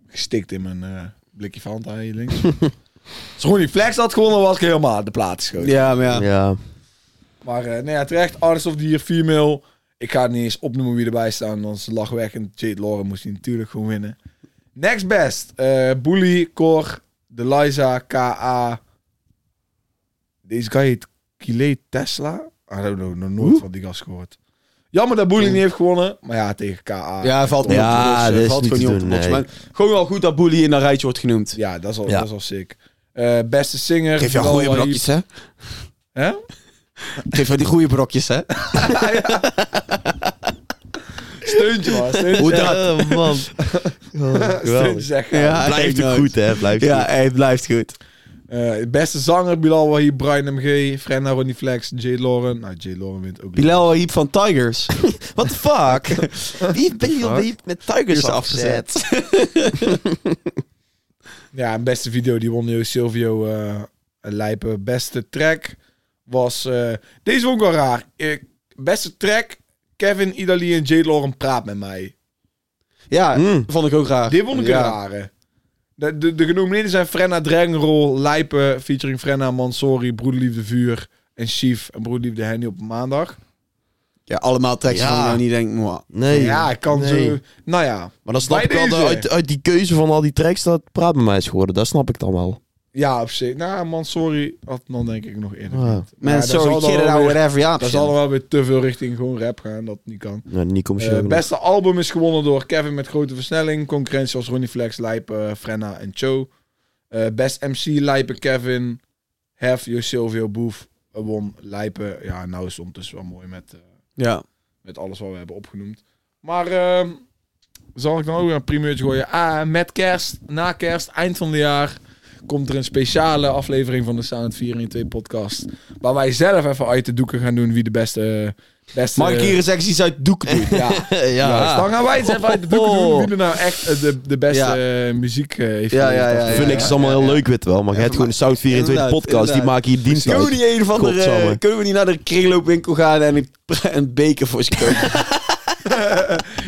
gestikt in mijn eh, blikje Fanta hier links. als Ronnie Flex had gewonnen, was ik helemaal uit de plaats geschoten.
Ja, maar
Ja.
ja.
Maar eh, nee, ja, terecht, Artist of the Year, Female. Ik ga het niet eens opnoemen wie erbij staan, dan is het lachwekkend. Jade Lauren moest hij natuurlijk gewoon winnen. Next best. eh Bully, Cor, Deliza, K.A. Deze guy heet Kile Tesla. I don't know, nog nooit van die gast gehoord. Jammer dat Bully niet heeft gewonnen, maar ja, tegen K.A.
Ja, hij valt niet
Ja,
op de
dit
bos.
is
Valt
niet
gewoon
te
niet op de
doen,
bos.
nee.
Maar gewoon wel goed dat Boelie in dat rijtje wordt genoemd.
Ja, dat is al,
Ja.
Dat is al sick. Eh, beste singer.
Geef jou
Bilal
goede
Wahib.
brokjes, hè?
Hè?
Geef jou die goede brokjes, hè?
Steuntje, man. Steuntje.
Hoe
zeggen.
dat? man. Oh,
Steuntje
geweldig.
zeggen.
Ja.
Blijft
Kijk
ook
Ah, nooit.
goed, hè? Blijft
Ja,
goed.
hey, het blijft goed.
Eh, beste zanger, Bilal Wahib, Brian MG, Frenna, Ronnie Flex, Jay Lauren. Nou, Jay Lauren wint ook niet.
Bilal Hiep van Tigers.
What the fuck? Wie ben je
Fuck.
die met Tigers
Is
afgezet?
afgezet.
Ja, en beste video, die won Joost Silvio eh Lijpen. Beste track was... eh, deze vond ik wel raar. Eh, beste track, Kevin, Idali en Jay Lauren praat met mij.
Ja,
Mm.
Hm? vond ik ook raar.
Dit vond ik
Ja.
een rare. De, de, de genomineerden zijn Frenna, Dragonroll, Lijpen, featuring Frenna, Mansori, Broederliefde Vuur en Chief en Broederliefde Henny op maandag.
Ja, allemaal teksten
Ja.
van waarvan je nou niet denkt, mwah.
Nee.
ja, ik kan
nee.
zo... Nou ja.
Maar dan snap
Bij
ik wel
deze.
dat uit, uit die keuze van al die tracks dat praat met mij is geworden. Dat snap ik dan wel.
Ja, op zich. Nou, Mansori had dan denk ik nog eerder.
Ah.
Man,
Ja, dat zal
sorry,
dan
kid it
wel
out
weer-
whatever. Ja,
Daar zal er wel weer te veel richting gewoon rap gaan, dat niet kan.
Nou, niet commercieel.
Eh
genoeg.
beste album is gewonnen door Kevin met grote versnelling. Concurrentie als Ronnie Flex, Lijpen, Frenna en Cho. Eh, best MC, Lijpen, Kevin. Hef, Jo Silvio, Boef, eh, won Lijpen. Ja, nou is het ondertussen wel mooi met, eh,
Ja.
met alles wat we hebben opgenoemd. Maar ehm, zal ik dan ook weer een primeurtje gooien? Ah, met kerst, na kerst, eind van het jaar... komt er een speciale aflevering van de Sound 4 in 2 podcast... waar wij zelf even uit de doeken gaan doen wie de beste... beste
Mag ik hier eens echt iets uit het doek doen?
Ja.
ja.
Juist, dan gaan wij eens even uit de
Oh.
doeken doen wie er nou echt eh, de, de beste eh, muziek eh, heeft
Ja, ja,
geleverd.
ja, ja,
Phoenix is allemaal heel leuk, weet wel. Maar je hebt gewoon de South 24
Inderdaad,
podcast. Die
inderdaad.
maken hier dienst
Kunnen we,
uit.
niet een van de, eh,
Godsamme.
kunnen we niet naar de kringloopwinkel gaan en een, een beker voor ze kopen?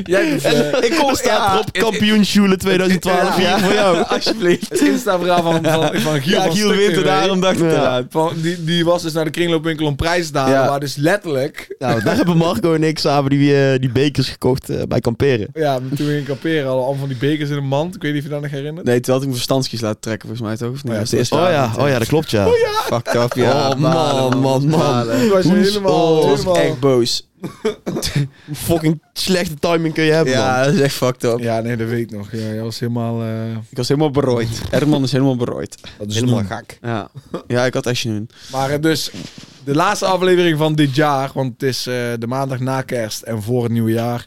Jij doet, eh,
ik kom
Staat erop kampioensjoelen 2012
Ja.
hier voor jou.
Alsjeblieft.
het Insta-verhaal van, van, van Giel
Ja,
van
Giel
Stuk
wint
TV.
er daarom, dacht ik
Ja.
eraan.
Van, die, die was dus naar de kringloopwinkel om prijs te halen,
Ja.
maar dus letterlijk...
Nou, daar hebben Marco en ik samen die, eh, die bekers gekocht eh, bij kamperen.
Ja, toen we gingen kamperen hadden we allemaal van die bekers in een mand. Ik weet niet of je dat nog herinnert.
Nee, terwijl ik mijn verstandskies laat trekken, volgens mij toch? Of niet?
Ja,
Dat is de eerste
Oh ja,
avond,
oh ja, dat klopt ja.
Fucked up, ja.
Oh, man,
Balen,
man, man.
balen.
Toen was je
Hoe-
helemaal...
oh,
Toen was ik
helemaal
echt boos.
Hoe fucking slechte timing kun je hebben man.
Ja, dat is echt fucked up.
Ja, nee, dat weet ik nog. Ja, jij was helemaal... eh,
Ik was helemaal berooid. Herman is helemaal berooid.
dat is
Helemaal
noem.
gek.
Ja, ja ik had echt genoemd.
Maar eh, dus, de laatste aflevering van dit jaar, want het is eh, de maandag na kerst en voor het nieuwe jaar.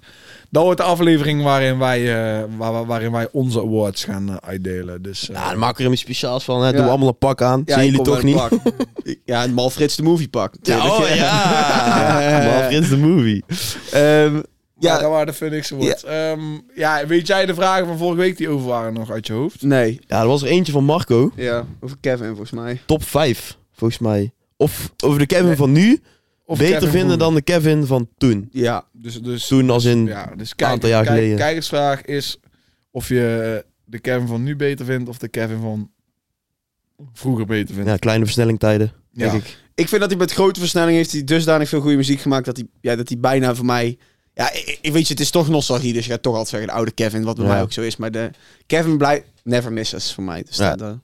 Dat wordt de aflevering waarin wij, eh, waar- waar- waarin wij onze awards gaan eh, uitdelen. Dus eh,
Nou, dan maken we er iets speciaals van. Hè. Doen
Ja.
we allemaal een pak aan.
Ja,
Zien
ik
jullie
kom
toch
wel
niet?
een pak. Ik- ja, een Malfrits de Movie pak.
Ja,
natuurlijk.
oh ja.
Ja.
Maar Prins de Movie.
Ehm,
ja,
ja,
dat waren de Phoenix Awards. Ja. ja, weet jij de vragen van vorige week die over waren nog uit je hoofd?
nee.
Ja, er was er eentje van Marco.
Ja, over Kevin volgens mij.
Top 5, volgens mij. Of over de Kevin van nu.
Of
beter
Kevin
vinden
Boone?
dan de Kevin van toen.
Ja,
Dus, dus,
Toen als in...
ja, dus kijk,
aantal jaar
kijk-
geleden.
kijkersvraag is of je eh, de Kevin van nu beter vindt of de Kevin van vroeger beter vindt.
Ja, kleine versnellingtijden.
Ja.
Denk ik.
ik vind dat hij met grote versnelling heeft hij dusdanig veel goede muziek gemaakt dat hij, ja, dat hij bijna voor mij... Ja, ik, ik weet je, het is toch nostalgie, dus je gaat toch altijd zeggen de oude Kevin, wat bij
Ja.
mij ook zo is. Maar de Kevin blijft never misses voor mij. Dus
Ja.
dat, eh,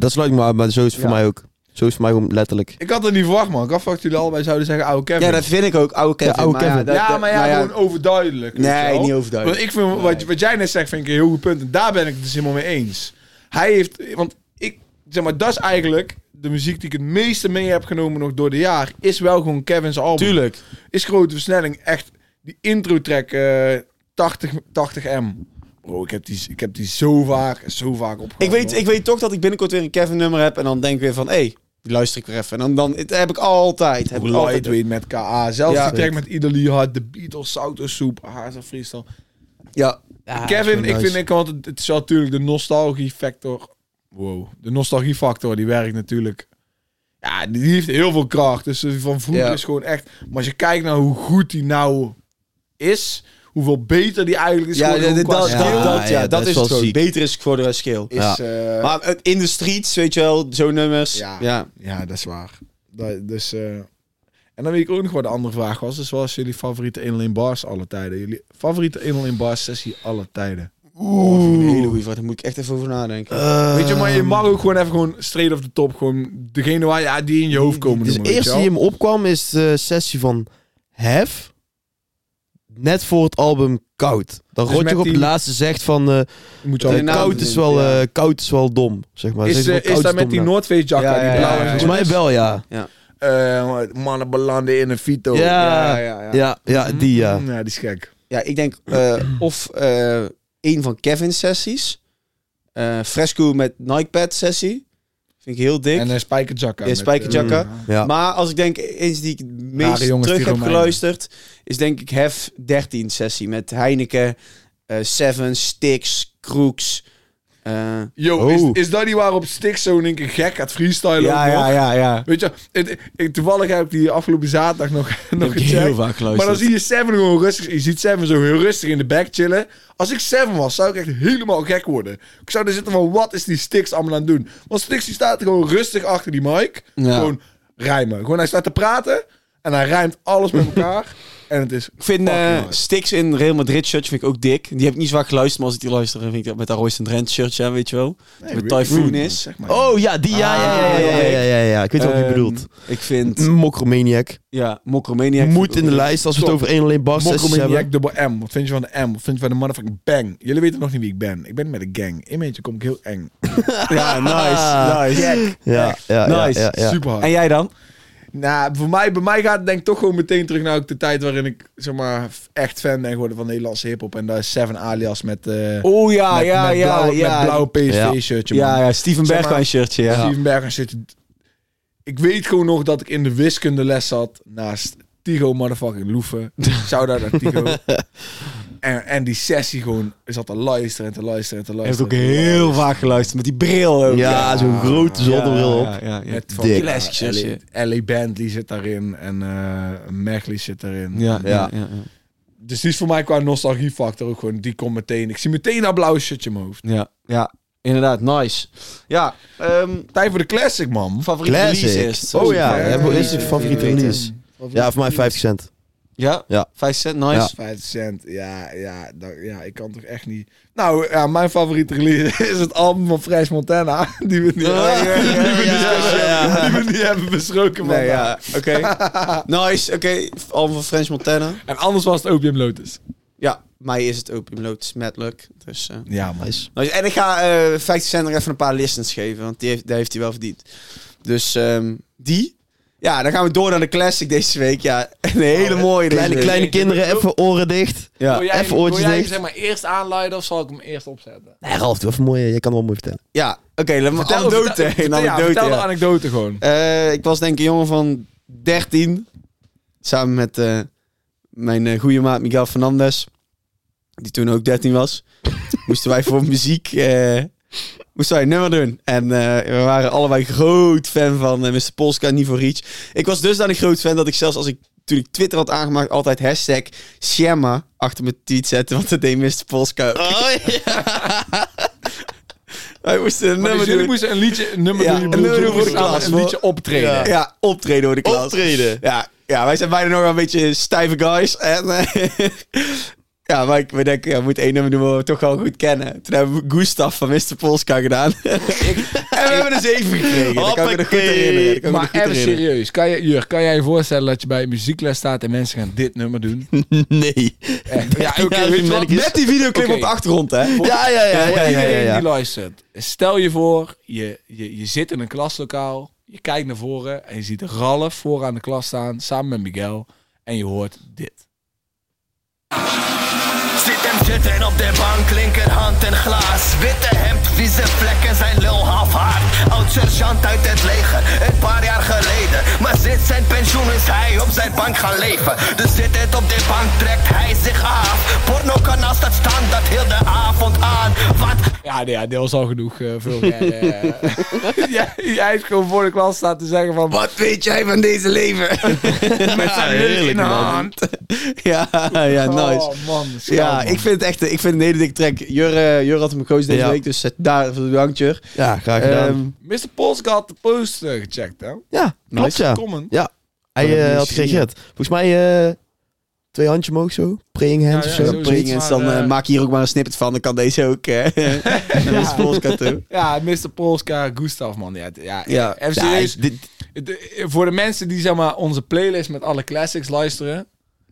Dat sluit me aan, maar zo is het voor
Ja.
mij ook. Zo is het mij gewoon letterlijk.
Ik had het niet verwacht, man. Ik had verwacht dat jullie allebei zouden zeggen oude Kevin.
Ja, dat vind ik ook. Oude Kevin.
oude
maar
Kevin.
dat-
ja,
dat-
maar ja,
nou
gewoon overduidelijk. weet je
Eh, Nee,
wel.
niet
Want
overduidelijk.
ik vind wat, wat jij net zegt, vind ik een heel goed punt. En daar ben ik het dus helemaal mee eens. Hij heeft, want ik zeg maar, dat is eigenlijk de muziek die ik het meeste mee heb genomen nog door de jaar. Is wel gewoon Kevin's album.
Tuurlijk.
Is grote versnelling echt die intro track eh, 80, 80 m. Bro, ik heb die, ik heb die zo vaak, zo vaak op.
Ik weet, ik weet toch dat ik binnenkort weer een Kevin nummer heb. En dan denk ik weer van, hé, hey, die luister ik weer even. En dan, dan het heb ik altijd. Heb ik altijd
Lightweight met KA. Zelfs
Ja.
die track met Idol Hard, de Beatles, Souter Soep, Haarza Freestyle.
Ja.
Kevin, ik
nice.
vind ik, want het, het is wel natuurlijk de nostalgie factor. Wow. De nostalgie factor, die werkt natuurlijk. Ja, die die heeft heel veel kracht. Dus eh, van vroeger
Ja.
is gewoon echt. Maar als je kijkt naar hoe goed die nou is, hoeveel beter die eigenlijk is.
Ja,
geworden,
dat,
hoe
dat,
qua
dat,
skill
ja,
dat- ja,
ja,
dat is het
wel
gewoon.
ziek.
Beter is geworden als skill.
is.
Ja.
eh,
Maar het- in de streets, weet je wel, zo'n nummers.
Ja.
Ja.
ja, dat is waar. Dat, dus. eh, en dan weet ik ook nog wat de andere vraag was. Dus wat was jullie favoriete 1 bars alle tijden? Jullie favoriete 1 bars sessie alle tijden?
Oh, dat vind ik een hele goeie vraag. Daar moet ik echt even over nadenken.
Eh, Weet je, maar je
Ehm,
mag ook gewoon even gewoon straight off the top. Gewoon degene waar ja, die in je hoofd komen.
Dus
noemen,
de
weet
eerste
je
die
wel.
in me opkwam is de sessie van Hef. Net voor het album Koud. Dan
Dus
Roger
met
op de
die- Nou,
laatste zegt van... eh,
Moet je
de
altijd
naam
koud
koud,
is.
is wel,
ja.
eh, koud is wel dom, zeg maar. Zegt
Is,
wel,
eh,
koud
is dat
dom
met die
nou.
Noordfeest
Ja,
jacka? die
ja, ja,
blauwe
ja,
en
ja.
Volgens mij wel, ja.
Eh, mannen belanden in een fito.
Ja.
ja, ja.
Ja, ja die ja.
Mm, Ja, die is gek.
Eh, Ja, ik denk eh, of eh een van Kevin's sessies. eh, Fresco met Nike Pad sessie. Vind ik heel dik.
En een spijkerjacka.
Ja,
met,
spijkerjacka.
eh,
Mm. ja.
Maar als ik denk eens die ik het meest
Rare jongens,
terug
die
heb
Romeinen.
geluisterd, is denk ik Hef 13 sessie met Heineken, eh, Seven, Stix, Crooks. eh,
Yo,
Oh.
is, is dat niet waarop Stix zo in één keer gek gaat freestylen?
ja,
ook nog?
ja, ja, ja.
Weet je, het- ik, toevallig heb ik die afgelopen zaterdag nog, nog
Heb ik
gecheckt.
heel vaak
Maar
geluisterd.
dan zie je Seven gewoon rustig. Je ziet Seven zo heel rustig in de back chillen. Als ik Seven was, zou ik echt helemaal gek worden. Ik zou er zitten van, wat is die Stix allemaal aan het doen? Want Stix die staat gewoon rustig achter die mic.
Ja.
Gewoon rijmen. Gewoon hij staat te praten. En hij rijmt alles met elkaar. en het is...
Ik vind
Fucking
eh
nice.
Stix in Real Madrid shirtje vind ik ook dik. Die heb ik niet zo vaak geluisterd, maar als ik die luister, dan vind ik dat met dat Royce Drent shirtje aan, weet je wel. met Typhoon is.
Zeg maar.
Oh ja, die ja, ja, ja, ja, ja, ja, ja, ja. Ik weet wat je
Ehm,
bedoelt.
Ik vind,
Mokromaniac.
ja, Mokromaniac. vind
Moet
ik
in
ook
de
dik.
lijst als we het
Top.
over één alleen bar sessies hebben.
Mokromaniac dubbel M. Wat vind je van de M? Wat vind je van de motherfucking bang? Jullie weten nog niet wie ik ben. Ik ben met een gang. In mijn eentje kom ik heel eng.
Ja, nice, nice.
Ja, ja, ja,
Nice.
ja, ja.
Super hard.
En jij dan?
Nou, voor mij, bij mij gaat het denk ik toch gewoon meteen terug naar ook de tijd waarin ik zeg maar f- echt fan ben geworden van Nederlandse hip-hop. En daar is Seven Alias met, eh
Oh ja,
met,
ja,
met
ja,
blauwe,
ja.
met blauwe
Ja.
PSV-shirtje.
ja, ja, Steven
Zeg maar-
Bergwijn shirtje, ja.
Steven Berghuis zit. Ik weet gewoon nog dat ik in de wiskundeles zat naast Tigo motherfucking Loeven. Shout-out naar Tigo. en, en die sessie gewoon zat te luisteren en te luisteren en te
Heeft
luisteren.
ook heel vaak geluisterd met die bril ook.
Ja, zo'n grote zonnebril op.
Ja, ja, ja.
Met
Dik.
Classic shirtje.
Ellie Bentley zit daarin en eh Mechli zit daarin.
Ja, ja,
Ja.
ja, ja.
Dus die is voor mij qua nostalgiefactor ook gewoon. Die komt meteen. Ik zie meteen dat blauwe shirtje in mijn hoofd.
ja, ja. Inderdaad, nice. Ja, ehm
Tijd voor de classic, man.
favoriete
Classic.
release eerst.
Oh ja,
Ja,
hebben we
ja,
eerst je
ja,
favoriete
ja, ja.
release? Ja, voor mij 50 cent.
Ja?
Ja.
5 cent, nice.
50 cent. Ja, ja, dat- ja, ik kan toch echt niet. Nou, ja, mijn favoriete release is het album van Fresh Montana. Die we niet,
Ja, ja,
die
ja,
we niet,
ja,
hebben-
ja, ja.
Die we niet hebben besproken.
Nee,
vandaag.
ja, oké. nice, oké. Album van French Montana.
En anders was het Opium Lotus.
Ja, mij is het Opium Lotus met luck. Dus, eh,
Ja, man.
Nice.
nice. En ik ga eh 50 cent nog even een paar listens geven, want die heeft, die heeft hij wel verdiend. Dus ehm, die. Ja, dan gaan we door naar de classic deze week. Ja, een hele
Oh,
mooie deze
Kleine,
week.
kleine kinderen, even oren dicht.
Ja.
jij- Even oortjes wil jij dicht. zeg
maar eerst aanleiden of zal ik hem eerst opzetten?
Nee, Ralf, doe even mooi. eh, Je kan wel mooi vertellen.
Ja, oké, laat me anekdote. Een
ja,
anekdote,
vertel
ja.
de anekdote gewoon.
Eh, ik was denk ik een jongen van 13. Samen met eh, mijn eh, goede maat Miguel Fernandez. Die toen ook 13 was. moesten wij voor muziek... eh, moesten wij een nummer doen. En eh, we waren allebei groot fan van eh, Mr. Polska, Niveau Reach. Ik was dusdanig groot fan dat ik zelfs als ik... Toen ik Twitter had aangemaakt, altijd hashtag Shemma achter mijn tweet zette. Want dat deed Mr. Polska ook. Wij moesten een
Maar
nummer
dus jullie
doen.
moesten een liedje, een nummer
Ja,
doen.
een nummer doen voor de
Jullie moesten
klas,
Een liedje optreden.
Ja.
Ja, optreden door de klas.
Optreden.
Ja, ja, wij zijn bijna nog wel een beetje stijve guys. En, eh, Ja, maar ik, we denken, ja, we moeten één nummer doen waar we toch wel goed kennen. Toen hebben we Gustav van Mr. Polska gedaan. en we hebben een 7 gekregen. Dat kan ik me nog goed
Hoppakee.
herinneren. Dat kan ik me
Maar
nog goed
even
herinneren.
serieus, kan je, Jur, kan jij je voorstellen dat je bij een muziekles staat en mensen gaan dit nummer doen?
Nee.
Echt? Ja, oké,
Ja,
weet je wat?
merk is-
Met die videoclip
Oké.
op de achtergrond, hè?
Ja, ja, ja, ja, ja,
Iedereen
ja.
die luistert, stel je voor, je, je, je zit in een klaslokaal, je kijkt naar voren en je ziet Ralf vooraan de klas staan, samen met Miguel, en je hoort dit.
Zit hem zitten op de bank, linkerhand en glaas. Witte hemd, vieze vlekken, zijn lul half hard. Oud sergeant uit het leger, een paar jaar geleden. Maar sinds zijn pensioen is hij op zijn bank gaan leven. Dus zittend op de bank trekt hij zich af. Porno kan als dat stand, dat heel de avond aan. Wat
Ja, nee, ja, dit was al genoeg eh vulgair. eh. jij, jij is gewoon voor de klas staan te zeggen van...
Wat weet jij van deze leven?
Met zijn
heerlijk, man.
ja, ja, nice.
Oh man, schaam,
ja,
man.
ik vind het echt ik vind het een hele dikke track. Jur, eh, Jur had hem gekozen deze
Ja.
week, dus eh, daar voor bedankt, Jur.
Ja, graag gedaan.
Ehm,
Mr. Polska had de post eh, gecheckt, hè?
ja, klopt ja.
Comment.
Ja, hij
dat
eh,
moet je
had
zien,
gereageerd. Volgens mij eh, twee handje omhoog zo. Praying hands
Ja,
of
ja,
zo.
dat
zo.
pring is,
maar,
dan eh,
eh,
maak hier ook maar een snippet van. Dan kan deze ook. eh naar ons Polska toe.
Ja, Mr. Polska, Gustav, man. Ja, het- ja,
Ja.
even
Ja,
serieus.
dit,
het, eh, voor de mensen die zeg maar, onze playlist met alle classics luisteren...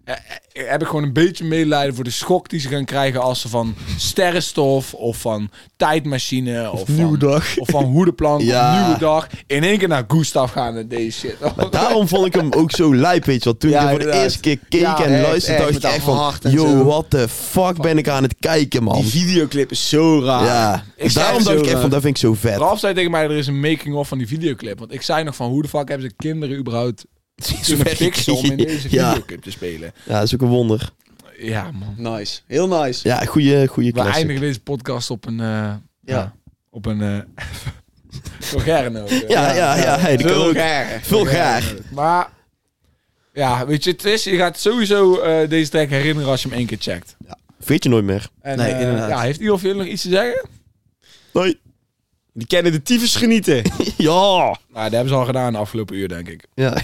eh, eh, heb ik gewoon een beetje medelijden voor de schok die ze gaan krijgen... als ze van Sterrenstof of van Tijdmachine of
Nieuwe
van,
dag.
Of van Hoedenplank
Ja.
of Nieuwe Dag... in één keer naar Gustav gaan en deze shit.
daarom vond ik hem ook zo lijp, weet je wel. Toen
Ja,
ik hem voor de
inderdaad.
eerste keer keek
Ja,
en
echt, echt,
luisterde, dacht ik
met
echt
dat
van...
hart en
Yo,
zo."
what the fuck ben ik aan het kijken, man.
Die videoclip is zo raar.
Ja, Dus
Ik zei
daarom
het
dacht
zo,
ik echt
eh,
van, dat vind ik zo vet.
Ralf zei tegen mij, er is een making-of van die videoclip. Want ik zei nog van, hoe de fuck hebben ze kinderen überhaupt kunnen
ver
fixen om in
gekregen.
deze
Ja.
videoclip te spelen?
Ja, dat is ook een wonder.
Ja, man.
Nice. Heel nice.
Ja, goede goede
We
classic.
eindigen deze podcast op een... eh, ja. Op een... eh vulgair ook. eh.
Ja, ja, ja. hey, dat kan ook.
Vulgair.
Vulgair.
Maar... Ja, weet je, het is, je gaat sowieso eh, deze track herinneren als je hem één keer checkt.
Weet je nooit meer.
En,
Nee,
eh,
inderdaad.
Ja, heeft iemand of jullie nog iets te zeggen?
Nee.
Die kennen de tyfus genieten.
Ja.
Nou, dat hebben ze al gedaan de afgelopen uur, denk ik.
Ja.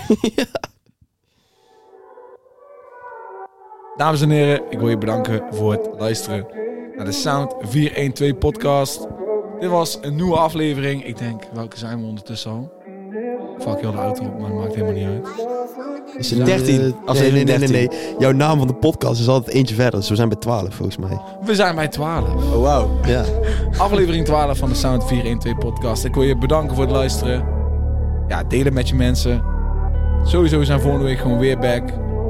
Dames en heren, ik wil je bedanken voor het luisteren naar de Sound 412 podcast. Dit was een nieuwe aflevering. Ik denk, welke zijn we ondertussen al? Fuck heel de auto op, maar dat maakt helemaal niet uit.
Is het
13?
eh,
Als
nee,
in
nee, nee, nee, nee. Jouw naam van de podcast is altijd eentje verder. Dus we zijn bij 12 volgens mij.
We zijn bij 12.
Oh, wauw.
Ja.
Aflevering 12 van de Sound 412 podcast. Ik wil je bedanken voor het luisteren. Ja, deel het met je mensen. Sowieso zijn we volgende week gewoon weer back.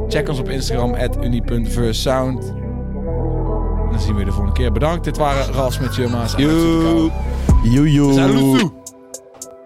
Check ons op Instagram, at uni.versound. En dan zien we je de volgende keer. Bedankt, dit waren Ralf met Jumma's.
Joep.
Joejoe.
Salut!